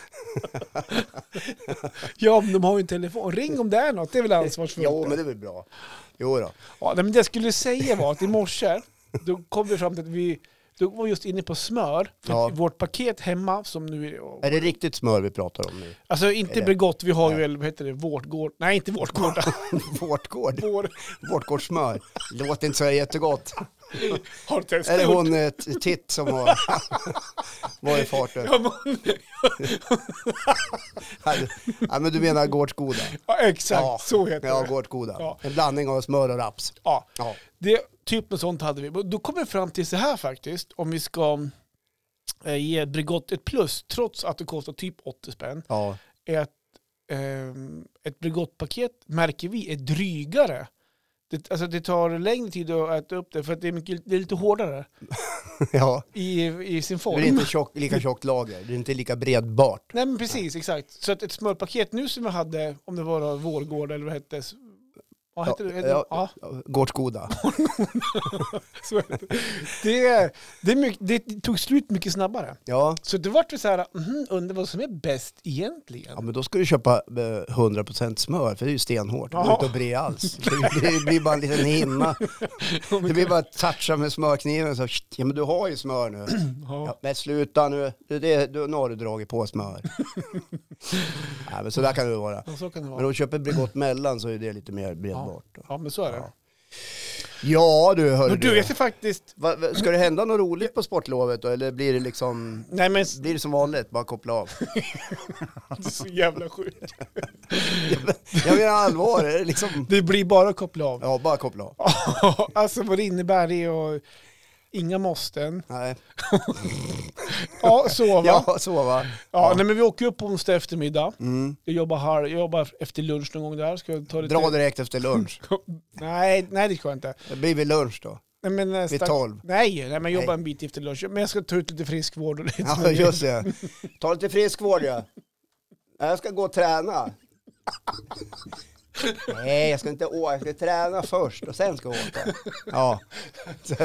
S2: Ja, men de har ju en telefon. Ring om det är något, det är väl ansvarsfullt?
S1: Jo, men det är väl bra. Jo då.
S2: Ja, nej, men det jag skulle säga var att i morse, då kom vi fram till att vi då var vi just inne på smör. För
S1: Ja.
S2: att Vårt paket hemma, som nu är...
S1: Är det riktigt smör vi pratar om nu?
S2: Alltså inte
S1: Eller-
S2: Bregott, vi har ju
S1: Nej.
S2: väl, vad heter det, Vårtgård? Nej, inte Vårtgård.
S1: Vårtgård.
S2: Vår,
S1: Vårtgårdssmör. Låter inte så jättegott.
S2: har du
S1: Är
S2: testat?
S1: det hon eh, T- Titt som har varit i farten?
S2: Ja, men,
S1: Ja, men du menar gårdsgoda?
S2: ja, exakt, så heter
S1: Ja,
S2: det.
S1: gårdsgoda.
S2: Ja.
S1: En blandning av smör och raps.
S2: Ja,
S1: Ja.
S2: det, typ något sånt hade vi. Men Då kommer vi fram till så här faktiskt, om vi ska eh, ge Bregott ett plus, trots att det kostar typ 80 spänn,
S1: ja.
S2: är att ehm, ett Bregottpaket märker vi är drygare. Det, alltså det tar längre tid att äta upp det för att det är, mycket, det är lite hårdare
S1: ja.
S2: i, i sin
S1: Det
S2: form.
S1: är inte tjock, lika tjockt lager, det är inte lika bredbart.
S2: Nej men precis, exakt. Så att ett smörpaket nu som vi hade, om det var Vårgård eller vad hette det? Vad hette det?
S1: ja.
S2: Ja, ja.
S1: Gårdsgoda.
S2: så hette det. Det, det, är mycket, det tog slut mycket snabbare.
S1: Ja.
S2: Så det vart väl så här, mhm, undrar vad som är bäst egentligen.
S1: ja, men då ska du köpa eh, 100% smör, för det är ju stenhårt. Det går
S2: Ja.
S1: inte att bre alls. Det blir, det blir bara en liten hinna. Det blir bara att toucha med smörkniven. Så, ja, men du har ju smör nu. Ja,
S2: Ja.
S1: men sluta nu, det, det, du, nu har du dragit på smör. Nej, men så där kan det vara.
S2: Ja, så kan det
S1: Men
S2: vara.
S1: om du köper Bregott mellan så är det lite mer bredbart. Ja,
S2: Ja, men så är det.
S1: Ja. ja du, hörru
S2: Men
S1: du.
S2: du, jag ska faktiskt
S1: Va, va- ska det hända något roligt på sportlovet då, eller blir det liksom...
S2: Nej men
S1: Blir det som vanligt, bara koppla av?
S2: det är så jävla sjukt.
S1: Jag menar allvar, är det liksom...
S2: Det blir bara att koppla av.
S1: Ja, bara koppla av.
S2: alltså vad det innebär det är att inga måsten.
S1: Nej.
S2: Ja, sova. Ja,
S1: Ja, så va?
S2: Nej, men vi åker upp på onsdag eftermiddag.
S1: Mm.
S2: Jag jobbar, halv, jag jobbar efter lunch någon gång där. Ska jag ta lite...
S1: Dra direkt efter lunch.
S2: Nej, nej det ska jag inte.
S1: Det blir väl lunch då?
S2: Nej, men, eh,
S1: Vid
S2: stack-
S1: tolv?
S2: Nej, nej, men jag jobbar en bit efter lunch. Men jag ska ta ut lite friskvård och lite
S1: Ja, just det. Ta lite friskvård ja. Nej, Jag ska gå och träna. Nej, jag ska inte åka. Jag ska träna först och sen ska jag åka. Ja. Så,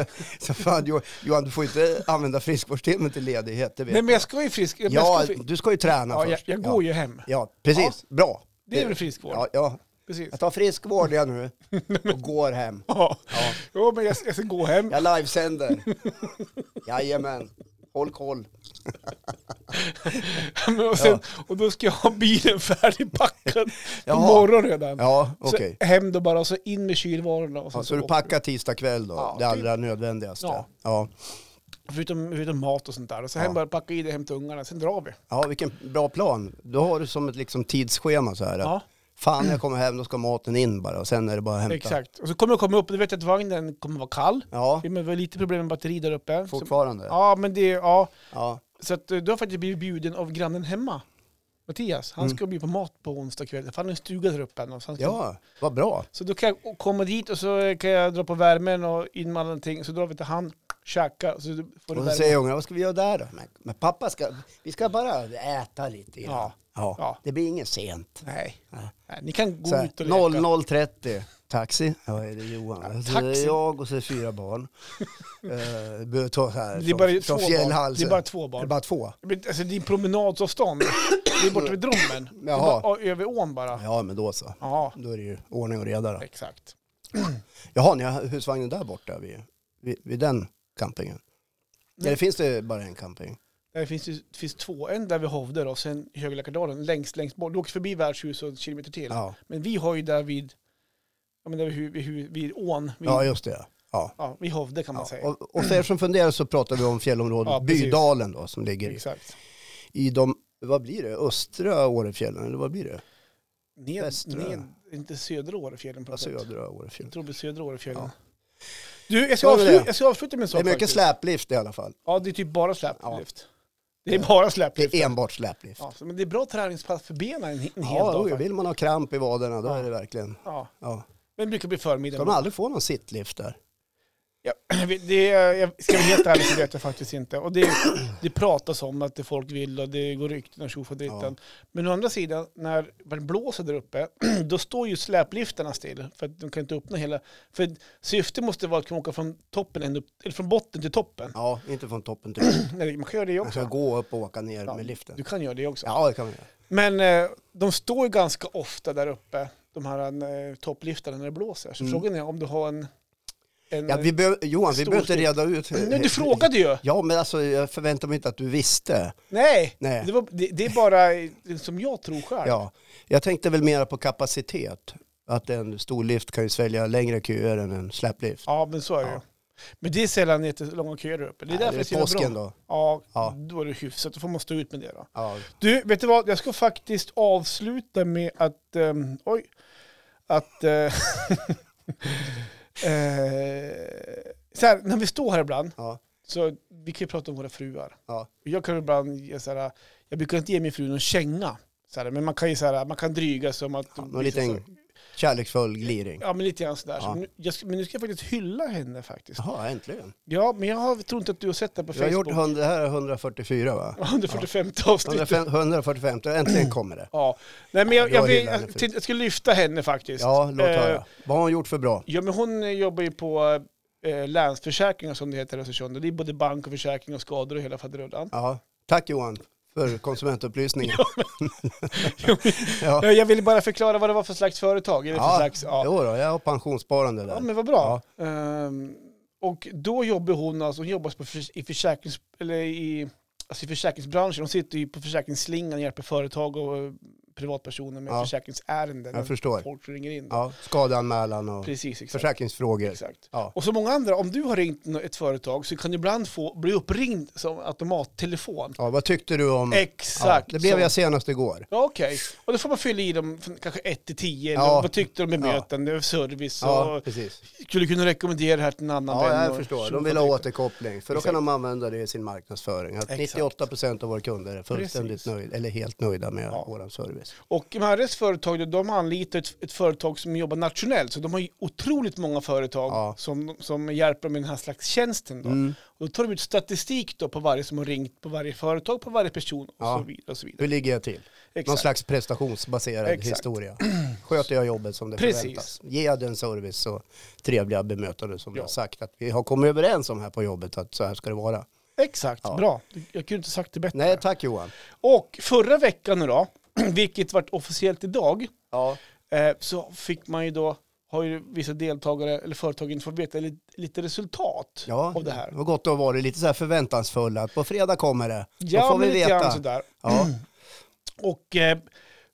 S1: så fan, Jo- Johan, du får inte använda friskvårdstimmen till ledighet. Det vet
S2: Nej,
S1: du.
S2: men jag ska ju frisk... men
S1: ja,
S2: jag, ska... ju fri-
S1: du ska ju träna
S2: ja, jag,
S1: först.
S2: jag går ju hem.
S1: ja. ja, precis. Bra.
S2: Det är väl friskvård?
S1: Ja, ja.
S2: Precis.
S1: Jag tar friskvård jag nu och går hem.
S2: Ja. Jo, men jag, jag ska gå hem.
S1: Jag livesänder. Jajamän. Håll koll.
S2: Men och, sen, och då ska jag ha bilen färdigpackad på
S1: Jaha.
S2: morgonen redan.
S1: Ja, okej.
S2: Så hem då bara och så in med kylvarorna. Och sen
S1: Ja, så du
S2: åker-
S1: packar tisdag kväll då,
S2: Ja,
S1: det
S2: typ.
S1: allra nödvändigaste. Ja. Ja.
S2: Ja. Förutom, förutom mat och sånt där. Och så hem
S1: Ja.
S2: bara packa i det hem till ungarna, sen drar vi.
S1: vilken bra plan. Då har du som ett liksom tidsschema så här.
S2: Ja,
S1: Fan, jag kommer hem, då ska maten in bara och sen är det bara att hämta.
S2: exakt. Och så kommer jag komma upp, och du vet att vagnen kommer vara kall.
S1: Ja,
S2: Men vi har lite problem med batteri där uppe. Så,
S1: fortfarande. Ja.
S2: ja, men det, ja.
S1: Ja.
S2: Så att, eh, du har faktiskt blivit bjuden av grannen hemma. Mattias, han
S1: Mm.
S2: ska bjuda på mat på onsdag kväll. Han har en stuga där uppe. Och så, han ska,
S1: vad bra.
S2: så då kan jag komma dit och så kan jag dra på värmen och in med alla någonting. Så drar vi till han, käkar. Så du får
S1: Och så
S2: du värme.
S1: säger ungarna, vad ska vi göra där då? Men, men pappa ska, vi ska bara äta lite grann.
S2: Ja.
S1: Ja.
S2: Ja.
S1: Det blir inget sent.
S2: Nej. Nej, ni kan gå
S1: Så här,
S2: ut och leka.
S1: 00.30, taxi. Ja, är det Johan? så det
S2: taxi.
S1: är jag och så är det fyra barn. Eh, behöver ta så här
S2: Det är bara
S1: från, från
S2: två barn.
S1: fjällhalsen.
S2: Det är bara två barn.
S1: Det är bara två.
S2: Men, Alltså det är promenadsavstånd. Det är borta vid Drommen. Det är
S1: Jaha.
S2: bara ö- över ån bara.
S1: Ja, men då så.
S2: Ja,
S1: Då är det ju ordning och reda. Då.
S2: exakt.
S1: Jaha, ni har husvagnen där borta vid, vid, vid den campingen?
S2: Nej.
S1: Eller finns det bara en camping?
S2: Där finns ju- det finns två. En där vid Hovde då, och sen Högläkardalen. Längst, längst bort. Du åker förbi värdshus och en kilometer till.
S1: Ja,
S2: Men vi har ju där vid, ja, men där vid, hu- vid, hu- vid ån. Vid,
S1: ja
S2: ja,
S1: just det. Ja.
S2: vid Hovde kan man
S1: Ja.
S2: säga.
S1: Och, och för er som funderar så pratar vi om fjällområdet
S2: Ja, precis.
S1: Bydalen då, som ligger i-
S2: Exakt.
S1: i de, vad blir det, östra Årefjällen eller vad blir det?
S2: Ned,
S1: Västra.
S2: ned, inte södra Årefjällen på
S1: Ja,
S2: något sätt.
S1: södra
S2: Jag
S1: Alltså, Årefjällen.
S2: tror det är södra Årefjällen.
S1: Ja.
S2: Du, jag
S1: Så
S2: ska,
S1: är det
S2: avsluta,
S1: det.
S2: jag ska avsluta med en
S1: Det
S2: sak
S1: är mycket
S2: faktiskt.
S1: släplift i alla fall.
S2: Ja, det är typ bara
S1: Ja.
S2: släplift. Det är bara
S1: Det
S2: släplift.
S1: är enbart släplift.
S2: Ja, så- men det är bra träningspass för benen en, he- en hel
S1: Ja,
S2: dag.
S1: oj,
S2: faktiskt.
S1: vill man ha kramp i vaderna då
S2: Ja.
S1: är det verkligen,
S2: Ja,
S1: ja.
S2: men det brukar bli
S1: Ska
S2: förmiddag.
S1: de aldrig få någon sittlift där?
S2: Ja, jag vet- det, är- jag ska vara helt ärlig så vet jag faktiskt inte. Och det, det pratas om att det folk vill och det går rykten och tjofadderittan. Men å andra sidan, när det blåser där uppe, då står ju släpliftarna still. För att de kan inte öppna hela... För syftet måste vara att kunna åka från, toppen ända upp, eller från botten till toppen.
S1: Ja, inte från toppen till botten.
S2: Nej, man kan göra det
S1: Man ska
S2: också.
S1: gå upp och åka ner
S2: Ja,
S1: med liften.
S2: Du kan göra det också.
S1: Ja, det kan man göra.
S2: Men eh, de står ju ganska ofta där uppe, de här eh, toppliftarna när det blåser. Så
S1: Mm.
S2: frågan är om du har en... en
S1: Ja, vi behöver- Johan, vi
S2: Mm. Stor
S1: behöver inte
S2: skrift.
S1: reda ut.
S2: Nej, du frågade ju!
S1: Ja, men alltså jag förväntar mig inte att du visste.
S2: Nej!
S1: Nej.
S2: Det, var, det, det är bara eh, som jag tror själv.
S1: Ja, jag tänkte väl mera på kapacitet. Att en stor lift kan ju svälja längre köer än en släplift.
S2: Ja, men så är det ju.
S1: Ja.
S2: Men det är sällan jättelånga köer där uppe. Det är därför det är så jävla
S1: påsken
S2: bra.
S1: då.
S2: Ja,
S1: Ja.
S2: då är det hyfsat. Då får man stå ut med det då.
S1: Ja.
S2: Du, vet du vad? Jag ska faktiskt avsluta med att... ehm, oj. Att... eh, eh, så här, när vi står här ibland,
S1: Ja.
S2: så vi kan ju prata om våra fruar.
S1: Ja.
S2: Jag kan ibland ge så här, jag brukar inte ge min fru någon känga. Så här, men man kan ju så här, man kan dryga som att...
S1: Ja, någon liten kärleksfull gliring.
S2: Ja, men lite grann sådär. Så
S1: Ja.
S2: nu, jag, ska- men nu ska jag faktiskt hylla henne faktiskt.
S1: Jaha, äntligen.
S2: Ja, men jag har, tror inte att du har sett det på
S1: Jag har
S2: Facebook.
S1: gjort 100, det här är 144 va?
S2: 145 avsnitt.
S1: 145, 145
S2: Mm.
S1: äntligen kommer det.
S2: Ja. Nej, men jag,
S1: Ja,
S2: jag,
S1: då
S2: vill,
S1: hyllar henne
S2: jag,
S1: för-
S2: tänkte- jag ska lyfta henne faktiskt.
S1: Ja, låt
S2: Eh,
S1: höra. Vad har hon gjort för bra?
S2: Ja, men hon eh, jobbar ju på eh, Länsförsäkringar som det heter i Östersund. Och Det är både bank och försäkring och skador och hela faderullan.
S1: Ja. Tack Johan för konsumentupplysningen.
S2: Ja. Jag ville bara förklara vad det var för slags företag. Eller för
S1: Ja.
S2: slags, ja.
S1: Jo då, jag har pensionssparande
S2: ja,
S1: där.
S2: men vad bra. Ehm, och då jobbar hon, alltså hon jobbar på, förs- i, försäkrings, eller i, alltså i försäkringsbranschen. Hon sitter ju på försäkringsslingan och hjälper företag och eh, privatpersoner med
S1: Ja.
S2: försäkringsärenden.
S1: Jag förstår.
S2: Folk ringer in.
S1: Ja, skadeanmälan och
S2: Precis, exakt.
S1: försäkringsfrågor.
S2: Exakt.
S1: Ja.
S2: Och så många andra, om du har ringt nå- ett företag så kan du ibland få, bli uppringd som automattelefon.
S1: Ja, vad tyckte du om...
S2: Exakt.
S1: Ja, det blev
S2: som-
S1: jag senast igår.
S2: Ja, Okej, och då får man fylla i dem från kanske 1 till 10.
S1: Ja.
S2: Vad tyckte de om bemötande, service
S1: Ja,
S2: och
S1: precis.
S2: skulle kunna rekommendera det här till en annan
S1: Ja,
S2: vän.
S1: jag
S2: och-
S1: förstår.
S2: så
S1: De vill ha
S2: får-
S1: återkoppling, för då
S2: Exakt.
S1: kan de använda det i sin marknadsföring. Att
S2: Exakt.
S1: 98 procent av våra kunder är fullständigt
S2: Precis.
S1: nöjda, eller helt nöjda med
S2: Ja.
S1: vår service.
S2: Och Marres företag, då, de anlitar ett, ett företag som jobbar nationellt, så de har ju otroligt många företag
S1: Ja.
S2: som, som hjälper dem med den här slags tjänsten. Då.
S1: Mm.
S2: Och då tar de ut statistik då på varje som har ringt, på varje företag, på varje person och
S1: Ja.
S2: så vidare. Och så vidare.
S1: Hur ligger jag till? Någon
S2: Exakt.
S1: slags prestationsbaserad
S2: Exakt.
S1: historia. Sköter jag jobbet som det
S2: Precis.
S1: förväntas? Ger den service och trevliga bemötande som
S2: Ja.
S1: jag har sagt att vi har kommit överens om här på jobbet att så här ska det vara.
S2: Exakt,
S1: Ja.
S2: bra. Jag kunde inte sagt det bättre.
S1: Nej, tack Johan.
S2: Och förra veckan nu då, vilket vart officiellt idag,
S1: Ja,
S2: eh, så fick man ju då, har ju vissa deltagare eller företag inte fått veta lite, lite resultat
S1: ja.
S2: av det här.
S1: var gott att vara lite så här förväntansfull att på fredag kommer det. Då får
S2: men
S1: vi
S2: lite grann
S1: veta.
S2: sådär.
S1: Ja.
S2: Och eh,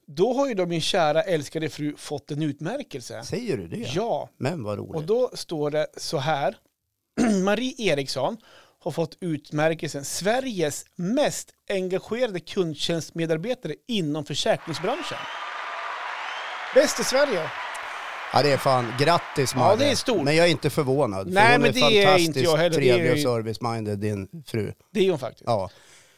S2: då har ju då min kära älskade fru fått en utmärkelse.
S1: Säger du det?
S2: Ja,
S1: Men vad roligt.
S2: och då står det så här. Marie Eriksson har fått utmärkelsen Sveriges mest engagerade kundtjänstmedarbetare inom försäkringsbranschen. Bäst i Sverige.
S1: Ja det är fan, grattis Marre.
S2: Ja, det är stort.
S1: Men jag är inte förvånad.
S2: Nej,
S1: för hon
S2: men
S1: är
S2: det är
S1: fantastiskt
S2: inte jag heller. Det är
S1: trevlig och
S2: ju-
S1: service-minded, din fru.
S2: Det är hon faktiskt.
S1: Ja.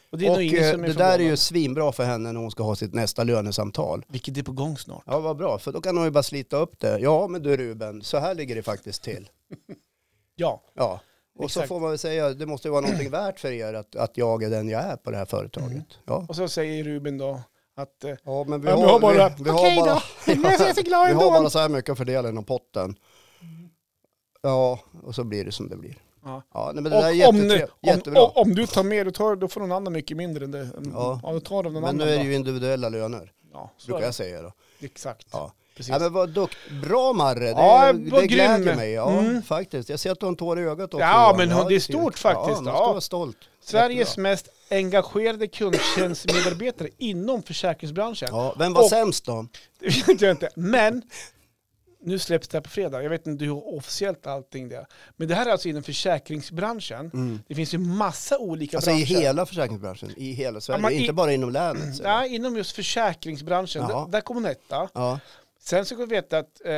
S2: Och det är
S1: och
S2: nog ingen
S1: eh,
S2: som är
S1: det där är ju
S2: förvånad.
S1: svinbra för henne när hon ska ha sitt nästa lönesamtal.
S2: Vilket är på gång snart.
S1: Ja vad bra, för då kan hon ju bara slita upp det. Ja men du Ruben, så här ligger det faktiskt till.
S2: Ja,
S1: Ja. Och
S2: Exakt.
S1: så får man väl säga, det måste ju vara någonting värt för er att, att jag är den jag är på det här företaget.
S2: Mm.
S1: Ja.
S2: och så säger Ruben då att eh,
S1: ja, men vi
S2: Ja,
S1: har,
S2: men jag har bara-
S1: vi, vi har
S2: Okej då.
S1: bara,
S2: Men jag är så glad
S1: vi har
S2: ändå.
S1: bara så här mycket att fördela inom potten. Ja, och så blir det som det blir.
S2: Ja.
S1: Ja, nej, men det där är
S2: Och om, nu,
S1: jättetre-
S2: om,
S1: jättebra.
S2: om, om du tar med, då, tar, då får någon annan mycket mindre än det. Ja.
S1: Ja.
S2: då tar de någon
S1: men nu
S2: annan.
S1: är det
S2: då.
S1: ju individuella löner,
S2: ja, så
S1: brukar
S2: är det.
S1: jag säga då.
S2: Exakt.
S1: Ja.
S2: Precis.
S1: Ja, men vad dukt. Bra Marre, det,
S2: Ja, vad
S1: det gläder
S2: grym.
S1: mig. Ja,
S2: Mm.
S1: faktiskt. Jag ser att du har en tår i ögat också.
S2: Ja,
S1: Johan.
S2: men hon- det är
S1: ser ut.
S2: stort faktiskt.
S1: Ja, man
S2: Ja.
S1: ska vara stolt.
S2: Sveriges mest engagerade kundtjänstmedarbetare inom försäkringsbranschen.
S1: Ja, vem var
S2: Och-
S1: sämst då?
S2: Det vet jag inte. Men nu släpps det här på fredag. Jag vet inte hur officiellt allting det är. Men det här är alltså inom försäkringsbranschen. Det finns ju massa
S1: Mm.
S2: olika
S1: Alltså i
S2: branscher.
S1: hela försäkringsbranschen, i hela Sverige,
S2: men i-
S1: inte bara inom länet. så.
S2: Nej, inom just försäkringsbranschen.
S1: Jaha.
S2: Där, där kommer hon etta.
S1: Ja.
S2: Sen så kan vi veta att eh,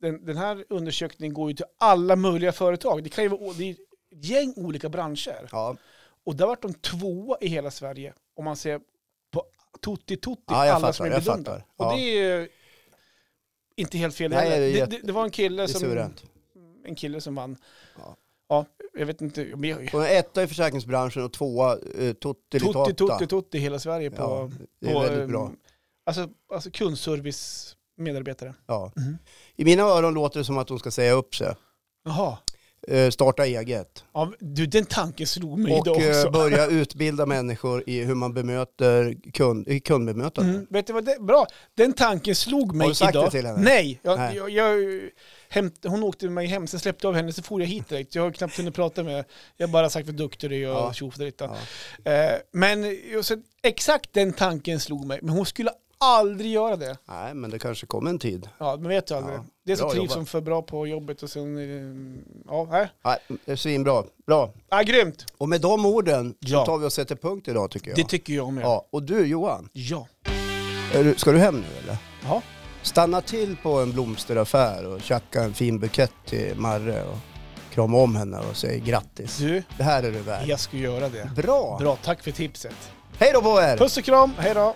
S2: den, den här undersökningen går ju till alla möjliga företag. Det kan ju vara o- det är ett gäng olika branscher.
S1: Ja.
S2: Och där vart de tvåa i hela Sverige. Om man ser på tutti tutti,
S1: Ja,
S2: alla
S1: jag
S2: som
S1: fattar,
S2: är
S1: jag
S2: bedömda.
S1: fattar.
S2: Och
S1: Ja.
S2: det är ju inte helt fel
S1: Nej,
S2: heller.
S1: det är
S2: det,
S1: jätte-
S2: det, det var en kille
S1: Det är
S2: som,
S1: suveränt.
S2: en kille som vann.
S1: Ja.
S2: Ja, jag vet inte. men jag-
S1: Hon är etta i försäkringsbranschen och tvåa eh,
S2: Tutti,
S1: Tottilitotta.
S2: tutti, tutti i hela Sverige på...
S1: Ja, det
S2: på,
S1: är väldigt
S2: ehm,
S1: bra.
S2: Alltså, alltså kundservice-medarbetare.
S1: Ja.
S2: Mhm.
S1: I mina öron låter det som att hon ska säga upp sig,
S2: Jaha.
S1: eh, starta eget
S2: Ja, men du, den tanken slog mig idag
S1: och eh,
S2: också.
S1: börja utbilda människor i hur man bemöter kund, i kundbemötande.
S2: Mm, vet du vad det, bra, den tanken slog mig
S1: Har du sagt
S2: idag.
S1: det till henne?
S2: Nej, jag,
S1: Nej.
S2: Jag, jag, hämt, hon åkte med mig hem, sen släppte jag av henne, så for jag hit direkt. Jag har knappt hunnit prata med Jag har bara sagt vad duktig du är
S1: Ja.
S2: och tjofadderittan. Eh, men jag sa, exakt den tanken slog mig, men hon skulle aldrig göra det.
S1: Nej, men det kanske kommer en tid.
S2: Ja, men vet du aldrig.
S1: Ja,
S2: Det är så
S1: bra
S2: trivs
S1: jobbat.
S2: som för bra på jobbet och sen, eh, ja, här.
S1: Nej, det är svinbra. Bra.
S2: Ja, grymt.
S1: Och med de orden
S2: Ja.
S1: så tar vi och sätter punkt idag tycker jag.
S2: Det tycker jag med.
S1: ja. Och du Johan,
S2: Ja.
S1: är du, ska du hem nu eller?
S2: Ja.
S1: Stanna till på en blomsteraffär och tjacka en fin bukett till Marre och krama om henne och säg grattis.
S2: Du,
S1: Det här är du värd.
S2: jag ska göra det.
S1: Bra.
S2: Bra, tack för tipset.
S1: Hej då på er!
S2: Puss och kram, hej då.